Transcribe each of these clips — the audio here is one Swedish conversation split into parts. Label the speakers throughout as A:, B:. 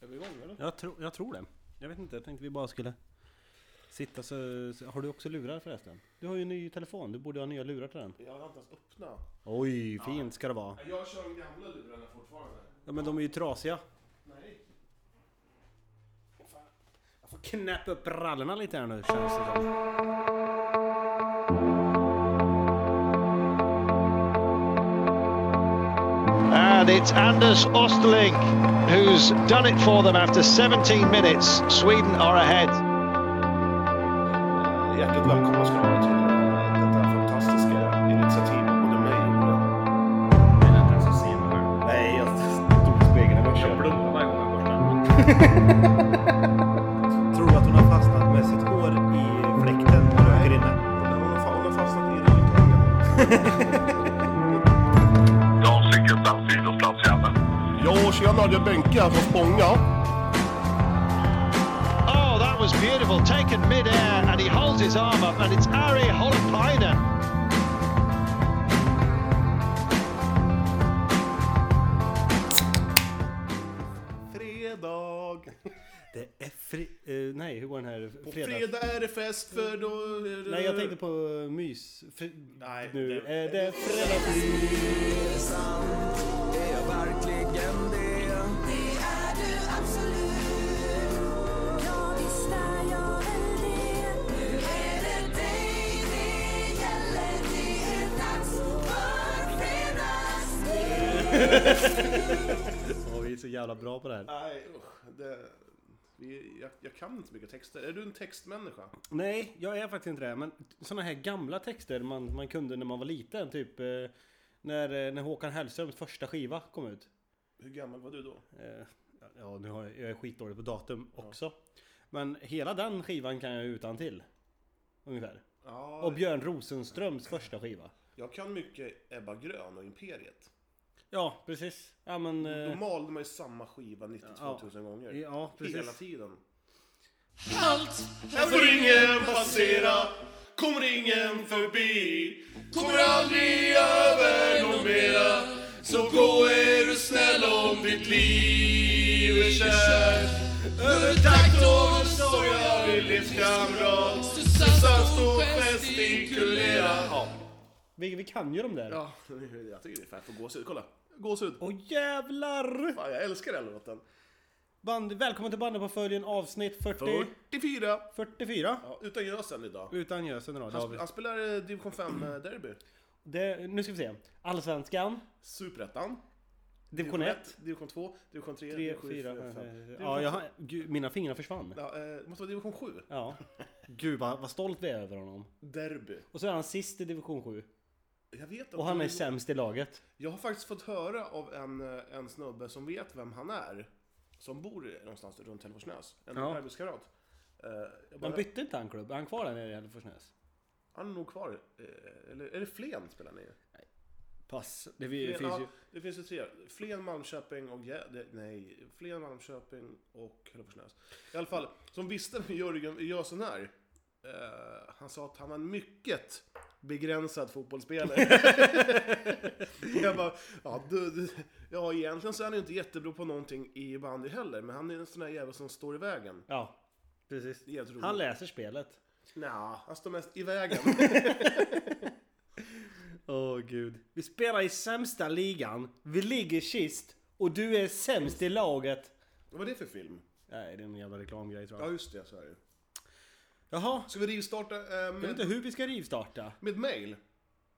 A: Är vi igång eller?
B: Jag, tro, jag tror det. Jag vet inte, jag tänkte vi bara skulle sitta så... så- Har du också lurar förresten? Du har ju en ny telefon, du borde ha nya lurar till den.
A: Jag har inte ens öppna.
B: Oj, fint ska det vara.
A: Jag kör de gamla lurarna fortfarande.
B: Ja men de är ju trasiga.
A: Nej.
B: Jag får knäppa upp brallorna lite här nu känns det som.
C: And it's Anders Osterling who's done it for them after 17 minutes. Sweden are ahead.
A: Hjärtligt välkomna ska ni vara till eh, detta fantastiska initiativ av både mig och Ola. Nej, jag stod i spegeln i morse.
D: Tror du att hon har fastnat med sitt hår i fläkten och röker inne?
A: Hon har fastnat i rulltågen.
E: Jag har cykelplats, idrottsplats, jävel.
A: Jo, tjena, det är Benke här från Spånga.
C: Oh, that was beautiful. Taken mid-air and he holds his arm up and it's Ari Holpainen.
A: Fredag.
B: Det är fri... eh, nej, hur går den här?
A: På
B: Fredag?
A: fredag är det fest för då... är det-
B: Nej, jag tänkte på eh, mys. Fri,
A: Nej,
B: nu
A: det-
B: är det fredag.
F: Det är du absolut. Ja, visst är jag väl det. Nu är det dig det gäller. Det är dags för fredagsmys.
B: Åh, vi är så jävla bra på det här.
A: Nej, usch. Det... vi- Jag, jag kan inte så mycket texter. Är du en textmänniska?
B: Nej, jag är faktiskt inte det. Men såna här gamla texter man, man kunde när man var liten. Typ eh, när, eh, när Håkan Hellströms första skiva kom ut.
A: Hur gammal var du då?
B: Eh, ja, nu har jag, jag är skitdålig på datum också. Men hela den skivan kan jag utan till. Ungefär.
A: Ja,
B: Och Björn Rosenströms första skiva.
A: jag kan mycket Ebba Grön och Imperiet.
B: Ja, precis. Ja, men...
A: Då
B: Eh,
A: malde man ju samma skiva 92 000 gånger.
B: ja,
A: Hela
B: precis.
A: tiden. Allt! Här får ingen passera, kommer ingen förbi. Kommer aldrig över någon mera. Så gå är du snäll om ditt liv är kärt. Över takt och sorg har vi livskamrat. Susanne står gestikulera. Ja,
B: Vi, vi kan ju de där. Åh
A: ja, jag tycker det är fett. Får gåshud. Kolla, gåshud.
B: jävlar!
A: Fan, jag älskar den låten.
B: Band, välkommen till Bandet på följen avsnitt 40,
A: 44.
B: 44.
A: Ja, utan gösen idag.
B: Utan gösen idag.
A: Han,
B: David.
A: sp- han spelar eh, Division 5 eh, derby.
B: Det, nu ska vi se. Allsvenskan.
A: Superettan.
B: Division 1.
A: Division 2, Division 3,
B: 3,
A: Division
B: 4,
A: 4, 5.
B: Ja, jag, har- gud, mina fingrar försvann.
A: Ja, eh, det måste vara division 7.
B: Ja. Gud vad, vad stolt vi är över honom.
A: Derby.
B: Och så är han sist i division 7.
A: Jag vet inte.
B: Och han är sämst i laget.
A: Jag har faktiskt fått höra av en, eh, en snubbe som vet vem han är. Som bor någonstans runt Hälleforsnäs. En
B: Ja.
A: arbetskamrat. Eh, jag bara,
B: Men bytte inte han klubb? Är han kvar där nere i Hälleforsnäs?
A: han är nog kvar. Eh, eller är det Flen spelar ni?
B: Pass. Det vi-
A: Flen,
B: finns
A: ja,
B: ju...
A: det finns ju tre. Flen, Malmköping och... Gä- det- Nej, Flen, Malmköping och Hälleforsnäs. I alla fall, som visste med Jörgen Jösen här. Eh, han sa att han var en mycket begränsad fotbollsspelare. jag bara, ja, du, du, ja egentligen så är han ju inte jättebra på någonting i bandy heller, men han är en sån där jävel som står i vägen.
B: Ja. Precis.
A: Det är jävligt roligt.
B: Han läser spelet.
A: Nja, han står mest i vägen.
B: Åh gud. Vi spelar i sämsta ligan. Vi ligger sist. Och du är sämst i laget.
A: Vad var det för film?
B: Nej, det är en jävla reklamgrej tror
A: Ja,
B: jag.
A: just det, så är det.
B: Jaha.
A: Ska vi rivstarta eh,
B: Jag vet
A: med,
B: inte hur vi ska rivstarta.
A: med mail?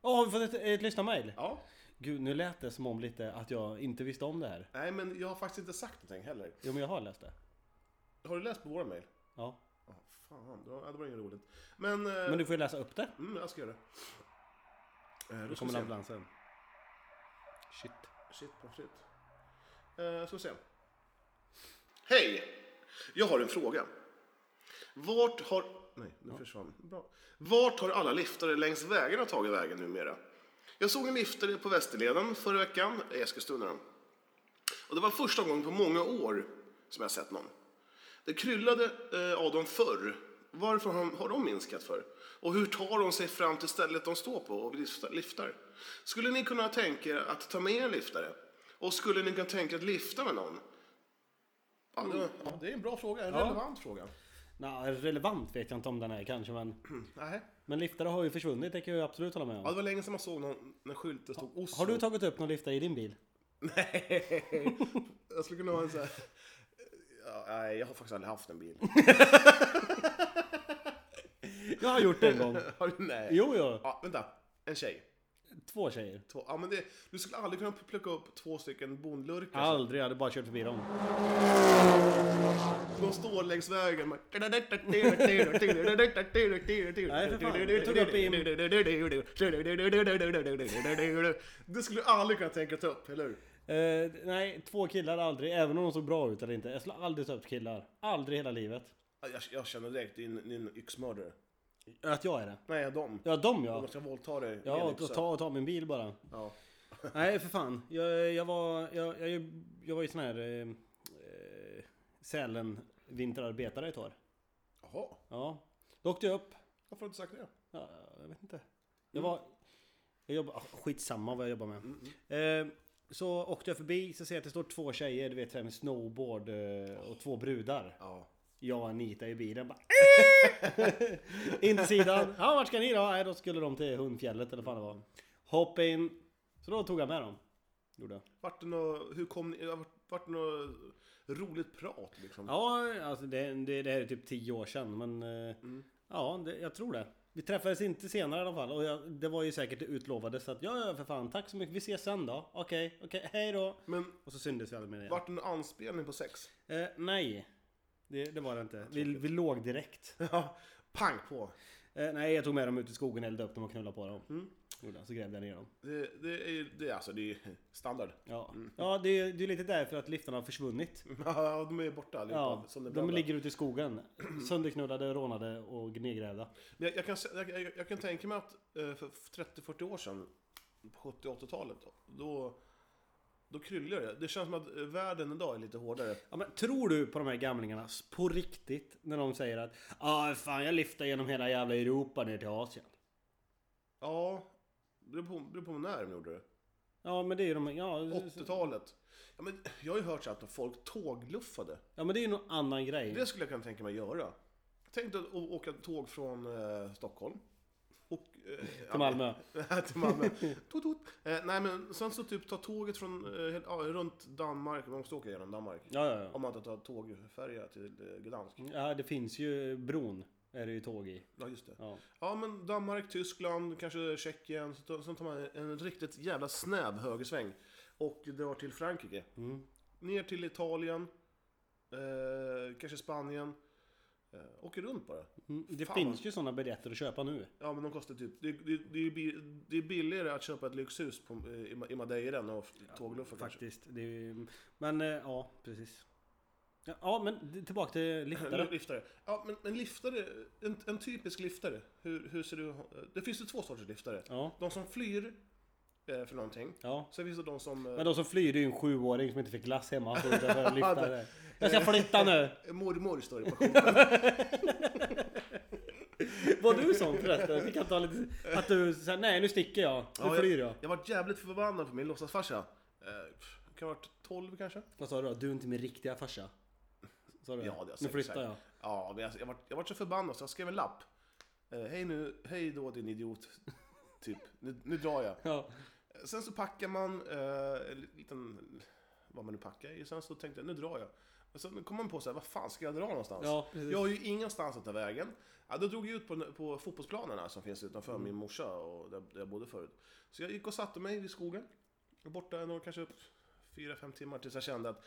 B: Åh, har vi fått ett, ett lyssnarmail?
A: Ja.
B: Gud, nu lät det som om lite att jag inte visste om det här.
A: Nej, men jag har faktiskt inte sagt någonting heller.
B: Jo, men jag har läst det.
A: Har du läst på våra mejl?
B: Ja.
A: Ja, fan, det var, ja, det var inget roligt. Men... eh,
B: Men du får ju läsa upp det.
A: Mm, jag ska göra det. Eh,
B: Då kommer
A: då ska vi se.
B: ambulansen. Shit.
A: Shit på shit. Eh, ska vi se. Hej! Jag har en fråga. Vart har... Nej, nu försvann. Bra. Vart har alla liftare längs vägarna tagit vägen numera? Jag såg en liftare på Västerleden förra veckan, i Eskilstuna. Och det var första gången på många år som jag sett någon. Det kryllade eh, av dem förr. Varför har- har de minskat för? Och hur tar de sig fram till stället de står på och lifta- liftar? Skulle ni kunna tänka er att ta med en liftare? Och skulle ni kunna tänka er att lifta med någon? Ja, det, ja, det är en bra fråga, en
B: Ja.
A: relevant fråga.
B: Nå, relevant vet jag inte om den är kanske men...
A: Nej.
B: Men liftare har ju försvunnit, det kan jag ju absolut hålla med
A: Ja,
B: om.
A: det var länge sedan man såg någon när skylten stod Oslo.
B: Har du tagit upp någon liftare i din bil?
A: Nej. Jag skulle kunna ha en sån här... Ja, nej, jag har faktiskt aldrig haft en bil.
B: Jag har gjort det en gång.
A: Har du? Nej.
B: Jo, jo.
A: Ja, vänta. En tjej.
B: Två tjejer.
A: Två. Ja, men det, du skulle aldrig kunna plocka upp två stycken bondlurkar.
B: Aldrig, jag hade bara kört förbi dem.
A: De står längs vägen. Man...
B: för fan. Jag tog upp
A: Det skulle du aldrig kunna tänka ta upp, eller hur?
B: Eh, nej, två killar aldrig, även om de såg bra ut eller inte. Jag skulle aldrig ta upp killar. Aldrig i hela livet.
A: Ja, Jag, jag känner direkt, det är en- det är en yxmördare.
B: Att jag är det.
A: Nej, de.
B: Ja, de
A: De
B: ja.
A: måste våldta dig. med
B: Ja,
A: en
B: och
A: yxa.
B: ta, ta min bil bara.
A: Ja.
B: Nej, för fan. Jag, jag var jag, jag, jag var ju sån här eh, eh, Sälen vinterarbetare ett år.
A: Jaha,
B: Ja. Då åkte jag upp.
A: varför har du inte sagt det?
B: Ja, jag vet inte. Jag var... Jag jobbar, ah, skitsamma vad jag jobbar med. Eh, så åkte jag förbi, så ser jag att det står två tjejer, du vet så här med snowboard eh, och två brudar.
A: Ja.
B: Jag och Anita i bilen bara... "Äh!" in till sidan. Ja, vart ska ni då? Nej, då skulle de till Hundfjället eller vad fan det var. Hoppa in. Så då tog jag med dem. Gjorde jag.
A: Vart det något, hur kom ni, vart, vart det något roligt prat liksom?
B: Ja, alltså det, det, det här är typ tio år sedan men... eh, Ja, det, jag tror det. Vi träffades inte senare i alla fall och jag, det var ju säkert det utlovade så att ja, ja för fan tack så mycket. Vi ses sen då. Okej, okej, hej då.
A: Men
B: Och så syndes vi aldrig mer igen.
A: vart det någon anspelning på sex?
B: Eh, nej. Det, det var det inte. Vi, vi låg direkt.
A: Ja, pang på!
B: Eh, nej, jag tog med dem ut i skogen, eldade upp dem och knullade på dem. Gjorde jag, Så grävde jag ner dem.
A: Det, det är ju, det är alltså, det är ju standard.
B: Ja, ja det, är- det är lite därför att liftarna har försvunnit.
A: Ja, de är ju borta allihopa.
B: Ja,
A: som det
B: de
A: blandar.
B: ligger ute i skogen. Sönderknullade, rånade och nedgrävda.
A: Men jag, jag, kan, se- jag, jag, jag kan tänka mig att eh, för 30-40 år sedan, på 70-80-talet, då, då kryllar det. Det känns som att eh, världen idag är lite hårdare.
B: Ja, men tror du på de här gamlingarna på riktigt när de säger att ah, fan jag lyfter genom hela jävla Europa ner till Asien?
A: Ja, det beror på, det beror på när de gjorde det.
B: Ja men det är ju de, ja,
A: 80-talet. Ja, men jag har ju hört så att folk tågluffade.
B: ja men det är ju någon annan grej.
A: Det skulle jag kunna tänka mig göra. Tänk dig att å- åka tåg från eh, Stockholm. Och, eh,
B: Till Malmö.
A: till Malmö. Tut, tut. Eh, nej men sen så typ ta tåget från, eh, hel- ja, runt Danmark, man måste åka genom Danmark.
B: Ja, ja, ja.
A: Om man inte tar tågfärja till eh, Gdansk.
B: ja det finns ju bron. Är det ju tåg i.
A: Ja just det.
B: Ja.
A: Ja men Danmark, Tyskland, kanske Tjeckien. Så tar- Sen tar man en riktigt jävla snäv högersväng. Och drar till Frankrike.
B: Mm.
A: Ner till Italien. Eh, kanske Spanien. Eh, åker runt bara.
B: Mm, Det
A: Fan,
B: finns
A: vad-
B: ju sådana biljetter att köpa nu.
A: Ja men de kostar typ, det, det, det, är, bi- det är billigare att köpa ett lyxhus på, eh, i Ma- i Madeira än att f- tågluffa kanske.
B: Faktiskt. Det är ju, men eh, ja, precis. Ja, Ja men d- tillbaka till
A: Eller
B: liftare.
A: Liftare. Ja men, men liftare, en, en typisk liftare. Hur, hur ser du, det finns ju två sorters liftare.
B: Ja.
A: De som flyr eh, för någonting.
B: Ja.
A: Sen finns det de som eh,
B: Men de som flyr det är ju en sjuåring som inte fick glass hemma. Så utanför en liftare. Jag ska flytta nu!
A: Mormor står det på skylten.
B: Var du sån förresten? Vi kan ta lite... Att du säger nej nu sticker jag, nu flyr jag.
A: jag, jag var jävligt förbannad på min låtsasfarsa. Eh, pff, kan ha varit 12 kanske?
B: Vad sa du då? Du är inte min riktiga farsa? Sa du
A: Ja, det har jag
B: Nu
A: säkert
B: flyttar
A: sagt.
B: jag.
A: Ja, men jag, jag, var, jag var så förbannad så jag skrev en lapp. Eh, hej nu, hej då din idiot. typ, nu, nu drar jag.
B: Ja.
A: Sen så packar man eh, en liten, vad man nu packar i. Sen så tänkte jag, nu drar jag. Men sen kom man på så här, vad fan ska jag dra någonstans?
B: Ja, precis.
A: jag har ju ingenstans att ta vägen. Ja, då drog jag ut på, på fotbollsplanerna som finns utanför
B: Mm.
A: min morsa och där, där jag bodde förut. Så jag gick och satte mig vid skogen. Borta en år, kanske 4-5 timmar tills jag kände att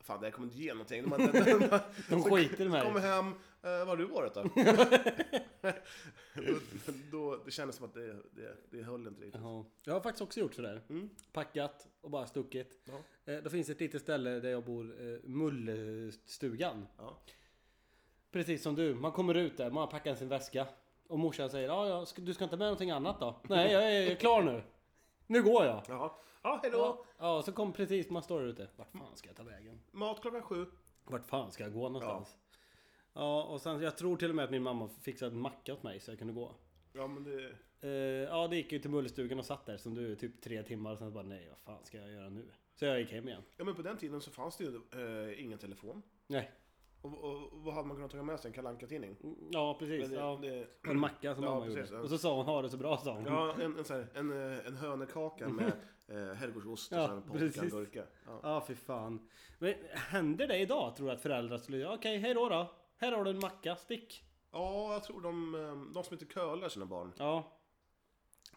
A: Fan, det här kommer inte ge någonting. De, hade-
B: De
A: så-
B: skiter i mig.
A: Kommer hem. Eh, vad har du varit då? då, då? Det kändes som att det, det, det höll inte riktigt.
B: Jaha. Jag har faktiskt också gjort sådär. Packat och bara stuckit.
A: Ja.
B: Eh, Då finns ett litet ställe där jag bor, eh, Mullestugan.
A: Ja.
B: Precis som du, man kommer ut där, man har packat sin väska. Och morsan säger ja, ja, ska- du ska inte med någonting annat då? Nej, jag är, jag är klar nu. Nu går jag.
A: Jaha. Ja, hejdå!
B: Ja, ja, så kom precis, man står där ute. Vart fan ska jag ta vägen?
A: Mat klockan sju.
B: Vart fan ska jag gå någonstans? Ja. och sen jag tror till och med att min mamma fixade en macka åt mig så jag kunde gå.
A: Ja, men det...
B: Eh, ja, det gick ju till mullestugan och satt där som du typ tre timmar och sen bara nej, vad fan ska jag göra nu? Så jag gick hem igen.
A: Ja, men på den tiden så fanns det ju eh, ingen telefon.
B: Nej.
A: Och, och, och vad hade man kunnat ta med sig? En Kalle Anka-tidning?
B: Ja, precis.
A: Det-
B: Mm. Ja.
A: det-
B: Och En macka som
A: Ja,
B: mamma
A: precis,
B: gjorde.
A: ja.
B: Och så sa hon ha det så bra sa hon.
A: Ja, en, en, så här, en, eh, en hönökaka med eh, herrgårdsost och
B: Mm. Ja,
A: ja, en polka, en
B: precis.
A: gurka. Ja.
B: Ja, fy fan. Men händer det idag tror du att föräldrar skulle göra? Okej, hej då då. Här har du en macka, stick.
A: ja, jag tror de, eh, de som inte curlar sina barn.
B: Ja.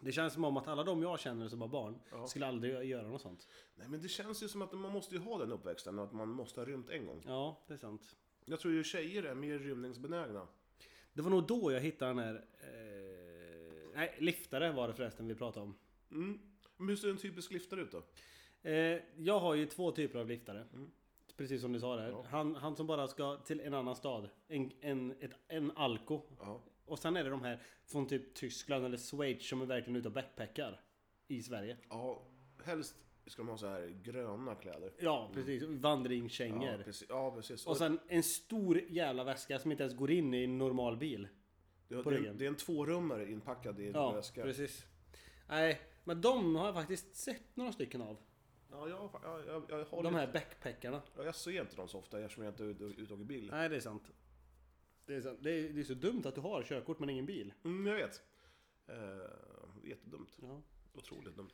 B: Det känns som om att alla de jag känner som har barn
A: Ja.
B: skulle aldrig göra något sånt.
A: Nej, men det känns ju som att man måste ju ha den uppväxten och att man måste ha rymt en gång.
B: Ja, det är sant.
A: Jag tror ju tjejer är mer rymningsbenägna.
B: Det var nog då jag hittade den här... Eh, nej, liftare var det förresten vi pratade om.
A: Mm. Men hur ser en typisk liftare ut då?
B: Eh, jag har ju två typer av liftare. Precis som du sa där.
A: Mm. Ja.
B: Han, han som bara ska till en annan stad. En, en, ett, en alko.
A: Ja.
B: Och sen är det de här från typ Tyskland eller Schweiz som är verkligen ute och backpackar. I Sverige.
A: ja, helst ska de ha så här gröna kläder.
B: Ja, Mm. precis. Vandringskängor.
A: Ja, precis. Ja, precis.
B: och sen en stor jävla väska som inte ens går in i en normal bil.
A: det,
B: på
A: det, är
B: ryggen.
A: en- det är en tvårummare inpackad i en
B: Ja,
A: väska.
B: precis. Nej, men de har jag faktiskt sett några stycken av.
A: Ja, jag, jag, jag, jag,
B: De
A: har lite-
B: här backpackarna.
A: Ja, jag ser inte dem så ofta eftersom jag inte är ute ute och åker bil.
B: Nej, det är sant. Det är, sant. Det, är, det är så dumt att du har körkort men ingen bil.
A: Mm, jag vet. Eh, jättedumt.
B: Ja.
A: Otroligt dumt.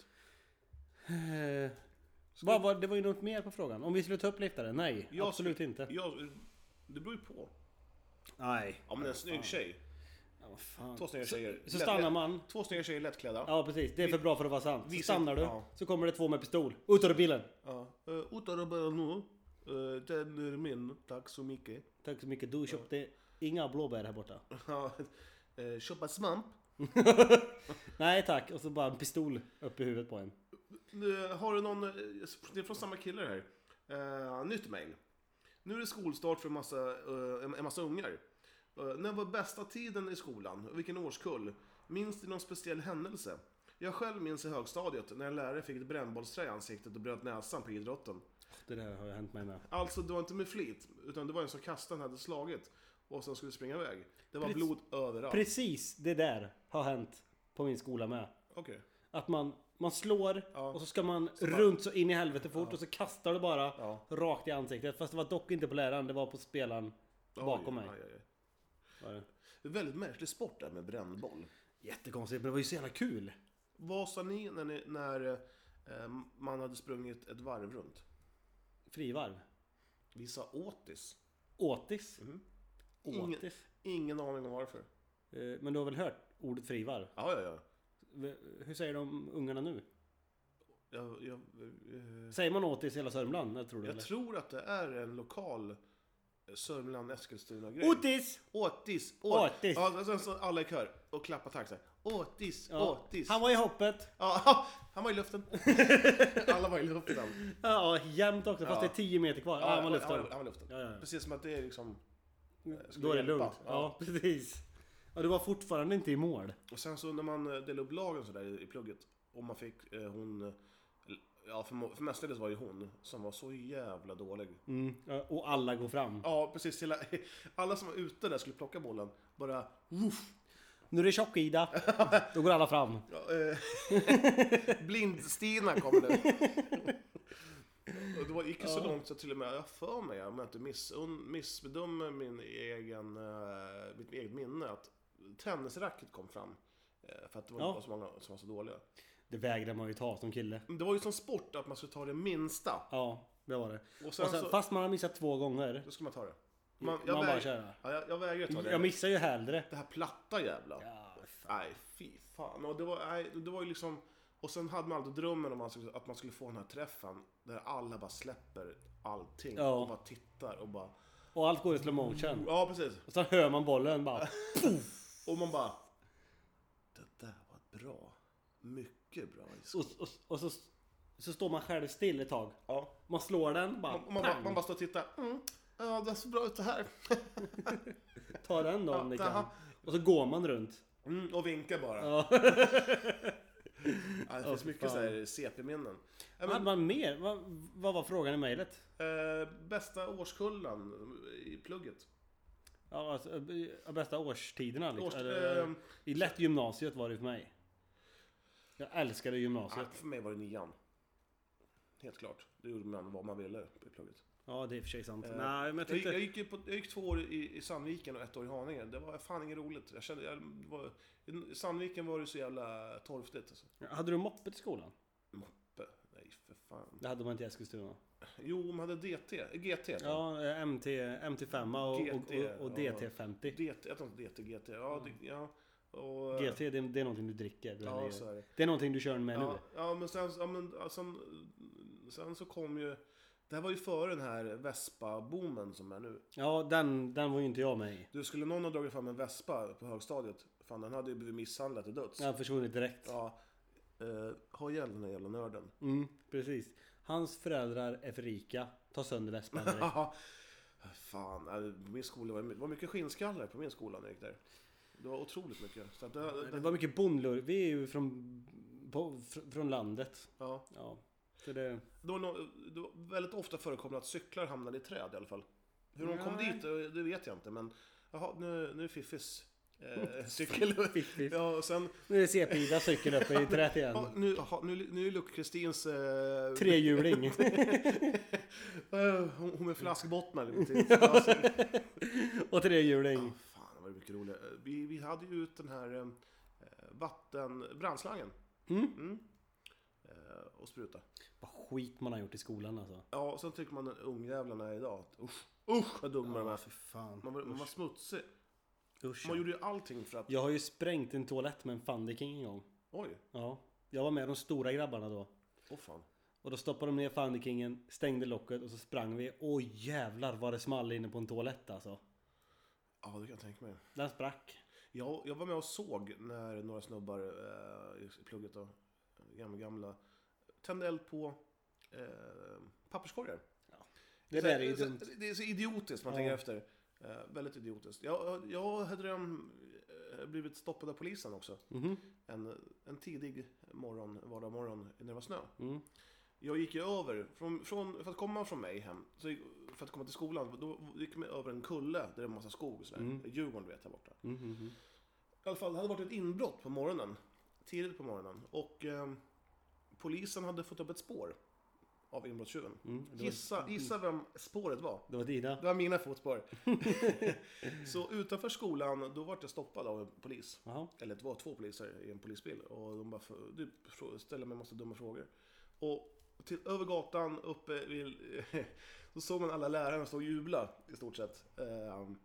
B: Eh, vad var, det var ju något mer på frågan. Om vi skulle ta upp liftare? Nej,
A: Jag
B: absolut
A: skulle-
B: inte.
A: Jag, det beror ju på.
B: Nej.
A: Ja, men en snygg tjej.
B: Ja, vad fan.
A: Två snygga tjejer.
B: Så stannar man.
A: Två snygga tjejer lättklädda. Ja.
B: Ja precis, det är för bra för att vara sant. Så
A: Visa-
B: stannar du,
A: ja.
B: så kommer det två med pistol. Ut ur bilen!
A: Eh, Utarabara nu. Eh, Den är min. Tack så mycket.
B: Tack så mycket, du köpte inga blåbär här borta.
A: Ja, eh, Köpa svamp.
B: Nej tack, och så bara en pistol upp i huvudet på en.
A: Eh, Har du någon... eh, Det är från samma kille det här. Eh, nytt mejl. Nu är det skolstart för en massa, eh, en- en massa ungar. Eh, när var bästa tiden i skolan? Vilken årskull? Minns du någon speciell händelse? Jag själv minns i högstadiet när en lärare fick ett brännbollsträ i ansiktet och bröt näsan på idrotten.
B: Det där har ju hänt mig med.
A: Alltså, det var inte med flit, utan det var en som kastade hade slagit och sen skulle springa iväg. Det var
B: Precis.
A: blod överallt. Okej.
B: Precis det där har hänt på min skola med. Att man, man slår
A: Ja.
B: och så ska man runt så in i helvete fort och så kastar du bara
A: Ja.
B: rakt i ansiktet. Fast det var dock inte på läraren, det var på spelaren bakom
A: Oj,
B: mig.
A: aj, aj, aj.
B: Var det.
A: Det är väldigt märklig sport där med brännboll.
B: Jättekonstigt, men det var ju så jävla kul.
A: Vad sa ni när, ni, när eh, man hade sprungit ett varv runt?
B: Frivarv.
A: Vi sa åtis.
B: Åtis.
A: Mhm. Ingen,
B: Åtis.
A: ingen aning om varför.
B: Eh, Men du har väl hört ordet frivarv?
A: Ja, ja, ja.
B: V- Hur säger de ungarna nu?
A: Jag, jag, eh,
B: Säger man åtis i hela Sörmland? Jag tror det.
A: jag
B: eller?
A: tror att det är en lokal eh, Sörmland-Eskilstuna-grej.
B: Otis!
A: Åtis! Åt.
B: Åtis.
A: Ja, sen så alla i kör och klappar takt så här. Åtis!
B: Ja.
A: Åtis!
B: Han var i hoppet.
A: ja, han var i luften. alla var i luften.
B: Ja, jämnt också. Fast
A: Ja.
B: det är 10 meter kvar. Ja, han var i luften.
A: Han var i luften.
B: Ja, ja, ja.
A: Precis som att det är liksom... eh, skulle
B: Då är det
A: hjälpa.
B: lugnt. Ja, precis. Ja, du var fortfarande inte i mål.
A: Och sen så när man eh, delade upp lagen sådär i, i plugget och man fick eh, hon... eh, Ja, för, mo- för mestadels var det ju hon som var så jävla dålig.
B: Ja, Och alla går fram.
A: Ja, precis. Hela, alla som var ute där skulle plocka bollen. Bara... Woof,
B: Nu är det tjock-Ida. Då går alla fram.
A: ja, eh, Blind-Stina kommer nu. Och Det var, gick ju så långt så till och med, jag har för mig, om jag inte miss, missbedömer min egen, eh, mitt eget minne, att tennisracket kom fram. eh, För att det var
B: Ja.
A: var så många som var så dåliga.
B: Det vägrar man ju ta som kille.
A: Det var ju som sport att man skulle ta det minsta.
B: Ja, det var det.
A: Och sen
B: och sen,
A: så-
B: fast man har missat två gånger.
A: Då ska man ta det.
B: man bara köra.
A: Ja, jag, jag vägrar ta det.
B: Jag missar ju hellre.
A: det här platta jävla.
B: Ja, fan.
A: Nej, fy fan. Och det, var, nej, det var ju liksom... Och sen hade man alltid drömmen om att man skulle- att man skulle få den här träffen där alla bara släpper allting
B: Ja.
A: och bara tittar och bara...
B: Och allt går i slow motion.
A: Ja, precis.
B: Och sen hör man bollen bara.
A: Och man bara... Det där var bra. Mycket bra.
B: Och, och, och så, så står man själv still ett tag.
A: Ja.
B: Man slår den, bara
A: Och man, bara,
B: pang!
A: man bara står och tittar. Mm. Ja, det ser bra ut det här.
B: Ta den då om ni kan.
A: aha.
B: Och så går man runt.
A: Mm, och vinkar bara.
B: Ja.
A: Ja, det finns mycket så här CP-minnen. Ja, men-
B: Hade man mer? Vad, vad var frågan i mejlet?
A: Eh, bästa årskullen i plugget?
B: Ja, alltså, eh, bästa årstiderna liksom.
A: Års-
B: Eller,
A: ehm.
B: I lätt gymnasiet var det för mig. Jag älskade
A: Ah,
B: gymnasiet.
A: för mig var det nian. Helt klart. Det gjorde man vad man ville i plugget.
B: Ja, det är i och för sig sant.
A: Eh,
B: Nej, men jag
A: Jag, gick- jag,
B: tyckte...
A: gick ju på, jag gick två år i, i Sandviken och ett år i Haninge. Det var fan inget roligt. Jag kände, jag det var, I Sandviken var det så jävla torftigt. Alltså.
B: Hade du moppe till skolan?
A: Moppe? Nej, för fan.
B: Det hade man inte i Eskilstuna.
A: Jo, man hade DT. GT. heter den.
B: Ja, eh, MT, MT5 och,
A: GT,
B: och, och, och
A: ja.
B: DT50.
A: DT, jag tror inte DT, GT. Ja, det, ja. Och,
B: GT, det är, det är någonting du dricker.
A: Ja,
B: eller-
A: så är det.
B: det är någonting du kör med
A: Ja,
B: nu.
A: ja, men, sen, ja, men ja, sen, sen så kom ju... Det här var ju före den här Vespa-boomen som är nu.
B: Ja, den, den var ju inte jag med i.
A: Du, skulle någon ha dragit fram en Vespa på högstadiet, fan den hade ju blivit misshandlad till döds.
B: Den försvunnit direkt.
A: Ja, eh, ha ihjäl den här jävla nörden.
B: Mm, precis. Hans föräldrar är för rika. Ta sönder vespan direkt.
A: Ja. Fan, eh, min skola var, det var mycket skinnskallar på min skola när jag gick där. Det var otroligt mycket. Så att det,
B: Det
A: det,
B: var mycket bondlur. Vi är ju från, på, fr- från landet.
A: ja.
B: Ja. Så det...
A: det, var no, det var väldigt ofta förekommande att cyklar hamnade i träd i alla fall. Hur de kom
B: Nej.
A: dit, eh, det vet jag inte. Men jaha, nu, nu är Fiffis eh, cykel.
B: Fiffis.
A: Ja, och sen,
B: Nu är det CP-Ida cykel uppe i träet
A: ja,
B: igen.
A: nu, jaha, nu, nu är Luck-Kristins... Eh,
B: Trehjuling.
A: eh, hon, hon med flaskbottnar. lite. Ja, så-
B: Och trehjuling.
A: Fan, det var mycket roligt. Vi, vi hade ju ut den här eh, vatten... brandslangen. Mm. Eh, och spruta.
B: Vad skit man har gjort i skolan alltså.
A: Ja, och sen tycker man den ungjävlarna är idag. att Usch, usch vad dumma de är.
B: för fan.
A: Man var, man var smutsig.
B: Usch.
A: Man gjorde ju allting för att...
B: Jag har ju sprängt en toalett med en Fundyking en gång.
A: Oj,
B: Ja. Jag var med de stora grabbarna då.
A: åh fan.
B: Och då stoppade de ner Fundykingen, stängde locket och så sprang vi. Åh jävlar vad det small inne på en toalett alltså.
A: Ja, det kan jag tänka mig.
B: Den sprack.
A: Jag, jag var med och såg när några snubbar eh, i plugget då, gamla, gamla, tände eld på eh, papperskorgar.
B: Det där är ju
A: så,
B: dumt.
A: det är så idiotiskt man
B: Ja.
A: tänker efter. Eh, väldigt idiotiskt. Jag, jag hade redan eh, blivit stoppad av polisen också.
B: Mhm,
A: En, en tidig morgon, vardagsmorgon när det var snö. Jag gick ju över, från, från, för att komma från mig hem, så gick, för att komma till skolan, då gick man över en kulle där det är en massa skog och sådär. Djurgården du vet här borta.
B: Mm. mhm,
A: I alla fall, det hade varit ett inbrott på morgonen. Tidigt på morgonen. Och eh, polisen hade fått upp ett spår av inbrottstjuven. gissa, gissa vem spåret var.
B: Det var dina.
A: Det var mina fotspår. så utanför skolan, då var jag stoppad av en polis.
B: Jaha.
A: Eller det var två poliser i en polisbil. Och de bara för- du frå- ställde mig en massa dumma frågor. Och till, över gatan, uppe vid... Då såg man alla lärarna stå och jubla i stort sett. Ehm,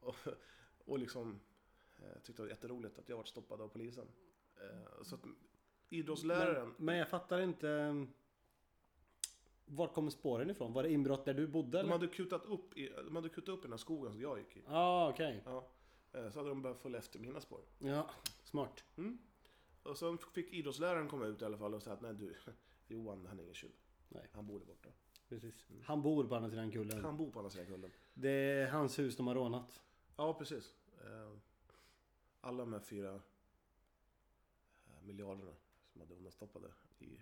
A: och, och liksom eh, tyckte det var jätteroligt att jag var stoppad av polisen. Eh, så att idrottsläraren...
B: Men jag fattar inte. ehm, Vart kommer spåren ifrån? Var det inbrott där du bodde
A: de,
B: eller?
A: hade kutat upp i, de hade kutat upp i den här skogen som jag gick i.
B: Ja, okej.
A: Ja. Eh, Så hade de börjat följa efter mina spår.
B: Ja, smart.
A: Och sen fick idrottsläraren komma ut i alla fall och säga att nej du, Johan han är ingen tjuv.
B: Nej.
A: Han bor där borta.
B: Precis. Han bor på andra sidan kullen.
A: Han bor på andra sidan kullen.
B: Det är hans hus de har rånat.
A: Ja, precis. Eh, Alla de här fyra eh, miljarderna som hade undanstoppade i...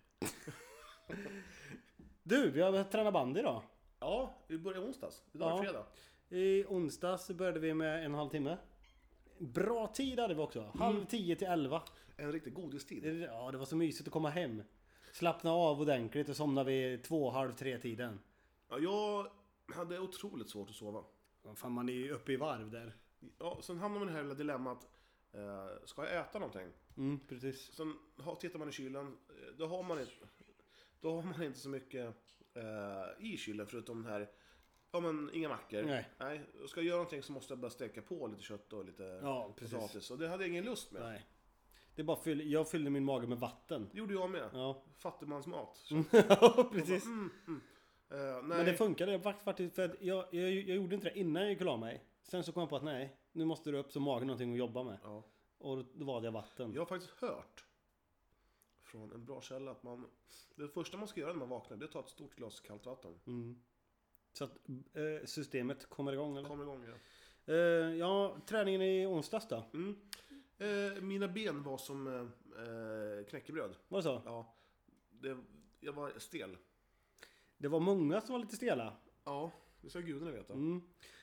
B: Du, vi har börjat träna bandy idag.
A: Ja, vi börjar onsdags. Idag är
B: Ja.
A: fredag.
B: I onsdags började vi med en och en halv timme. Bra tid hade vi också. Halv
A: Mm.
B: tio till elva.
A: En riktig godistid.
B: Ja, det var så mysigt att komma hem. Slappna av ordentligt och somna vid två, halv tre tiden.
A: Ja, jag hade otroligt svårt att sova.
B: Fan, man är ju uppe i varv där.
A: Ja, sen hamnar man i det här lilla dilemmat. eh, Ska jag äta någonting?
B: Mm, precis.
A: Sen har, tittar man i kylen, eh, då har man inte, då har man inte så mycket eh, i kylen förutom den här, ja men inga mackor.
B: Nej.
A: och Ska jag göra någonting så måste jag bara steka på lite kött och lite
B: Ja, precis.
A: potatis. Och det hade jag ingen lust med.
B: Nej. Det är bara fyll... Jag fyllde min mage med vatten.
A: Det gjorde jag med.
B: Ja,
A: Fattigmansmat. Så,
B: ja precis.
A: eh, nej.
B: Men det funkade. Jag, vakt- faktiskt, för att jag, jag, jag gjorde inte det innan jag gick och la mig. Sen så kom jag på att nej, nu måste du upp så magen har någonting att jobba med.
A: ja.
B: Och då valde jag vatten.
A: Jag har faktiskt hört från en bra källa att man, det första man ska göra när man vaknar det är att ta ett stort glas kallt vatten.
B: Mm. Så att eh, systemet kommer igång eller?
A: Kommer igång ja.
B: Eh, ja, träningen i onsdags då?
A: Eh, mina ben var som eh, eh, knäckebröd.
B: Var det så?
A: Ja, det, jag var stel.
B: Det var många som var lite stela.
A: Ja, det ska gudarna veta.
B: Mm.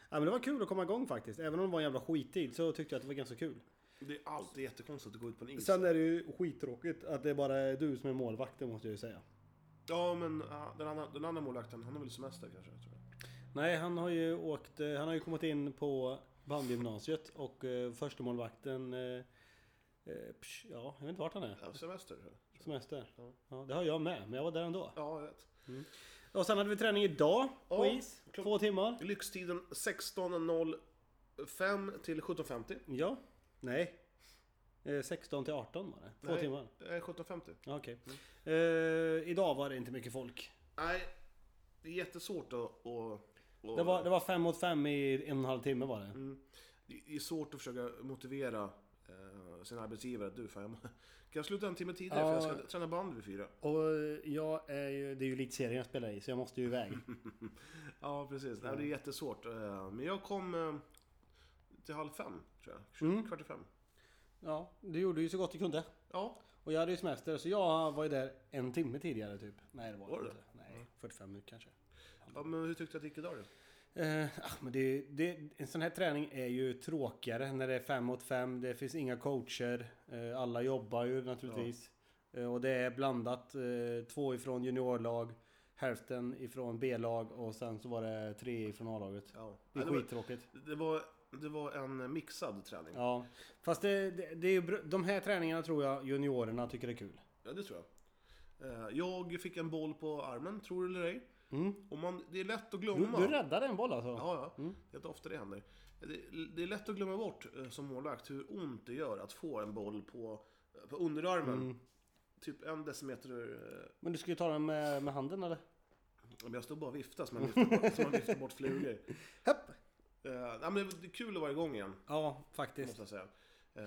B: Ja, men det var kul att komma igång faktiskt. Även om det var en jävla skittid så tyckte jag att det var ganska kul.
A: Det är alltid jättekonstigt att gå ut på en is.
B: Sen är det ju skittråkigt att det är bara du som är målvakten måste jag ju säga.
A: Ja, men ja, den, andra, den andra målvakten, han har väl semester kanske? Tror jag.
B: Nej, han har ju åkt... eh, Han har ju kommit in på bandgymnasiet och eh, förstemålvakten... Eh, eh, psh, ja, jag vet inte vart han är.
A: Ja, semester tror jag.
B: Semester. Ja, det har jag med, men jag var där ändå.
A: Ja, jag vet.
B: Och sen hade vi träning idag på
A: Ja,
B: is. Två timmar.
A: Lyxtiden 16.05 till 17.50.
B: Ja. Nej. Eh, 16 till 18 var det. Två
A: Nej,
B: timmar.
A: eh, 17.50.
B: Ja, Okej. Eh, idag var det inte mycket folk.
A: Nej, det är jättesvårt att... att, att
B: Det var, det var fem mot fem i en och en halv timme var det.
A: det är svårt att försöka motivera eh, sin arbetsgivare att du, fan, jag må- kan jag sluta en timme tidigare för jag ska träna band vid fyra?
B: Och jag är ju... Det är ju elitserien jag spelar i, så jag måste ju iväg.
A: Ja, precis. Nej, det är jättesvårt. Eh, men jag kom eh, till halv fem, tror jag. Tjugo-
B: Mm.
A: Kvart i fem.
B: ja, du gjorde ju så gott du kunde.
A: Ja,
B: Och jag hade ju semester, så jag var ju där en timme tidigare typ. Nej, det var,
A: Var
B: det Mm.
A: du
B: inte. Nej, 45 minuter kanske.
A: ja men hur tyckte du att det gick idag då?
B: Eh, ah, men det, det, en sån här träning är ju tråkigare när det är fem mot fem. Det finns inga coacher. Eh, alla jobbar ju naturligtvis. Eh, och det är blandat. Eh, två ifrån juniorlag, hälften ifrån B-lag och sen så var det tre ifrån A-laget.
A: Ja.
B: Det är
A: Nej, det var-
B: skittråkigt.
A: Det var, det var en mixad träning. Ja,
B: Ja, fast det, det, det är ju, br- de här träningarna tror jag juniorerna tycker är kul.
A: det tror jag. Eh, jag fick en boll på armen, tror du eller ej. Och man, det är lätt att
B: Du,
A: glömma.
B: Mm. du räddade en boll alltså?
A: Ja, ja. Det är inte ofta det händer. Det, det är lätt att glömma bort eh, som målvakt hur ont det gör att få en boll på, eh, på underarmen.
B: Mm.
A: Typ en decimeter... eh,
B: Men du skulle ju ta den med, med handen eller?
A: Men jag står bara och viftar som man viftar bort, som man viftar bort flugor.
B: Hepp.
A: Uh, nej, men det är kul att vara igång igen,
B: Ja, faktiskt.
A: måste jag säga.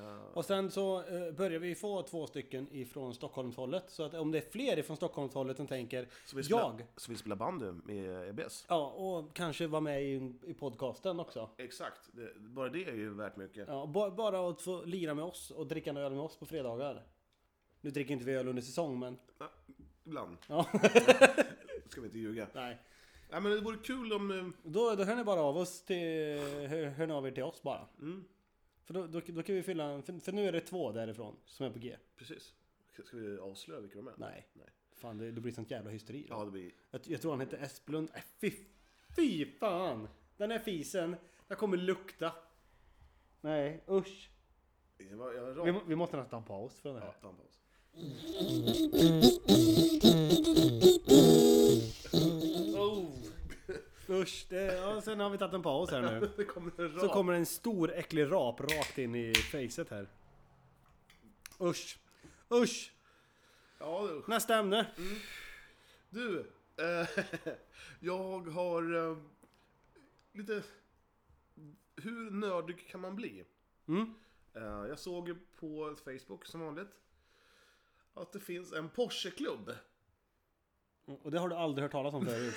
A: Eh,
B: Och sen så eh, börjar vi få två stycken ifrån Stockholmshållet. Så att om det är fler ifrån Stockholmshållet som tänker
A: så vi spelar,
B: jag,
A: Så vi spelar bandy med E EBS.
B: ja, och kanske vara med i, i podcasten också.
A: Exakt, det, bara det är ju värt mycket.
B: Ja, ba- bara att få lira med oss och dricka en öl med oss på fredagar. Nu dricker inte vi öl under säsong, men
A: Ja, ibland.
B: Ja.
A: Ska vi inte ljuga.
B: nej.
A: Nej, men det vore kul om... eh,
B: Då, då hör ni bara av oss till, hör, hör ni av er till oss bara. För då, då, då kan vi fylla en, för, för nu är det två därifrån som är på G.
A: Precis. Ska vi avslöja vilka de är?
B: Nej.
A: Nej.
B: Fan, det, det blir sånt jävla hysteri. då.
A: Ja, det blir...
B: Jag, jag tror han hette Esplund. Äh, fy, fy fan! Den här fisen, jag kommer lukta. Nej, usch.
A: det var- Jag
B: Vi,
A: ramar
B: må- vi måste nästan ta en paus för den här.
A: ta en paus.
B: Usch, det, ja, sen har vi tagit en paus här nu.
A: Det kommer en rap.
B: Så kommer en stor äcklig rap rakt in i facet här. Usch. Usch!
A: Ja, du.
B: Nästa ämne.
A: du eh, jag har eh, lite... Hur nördig kan man bli? Eh, jag såg på Facebook som vanligt att det finns en Porscheklubb.
B: Och det har du aldrig hört talas om förut.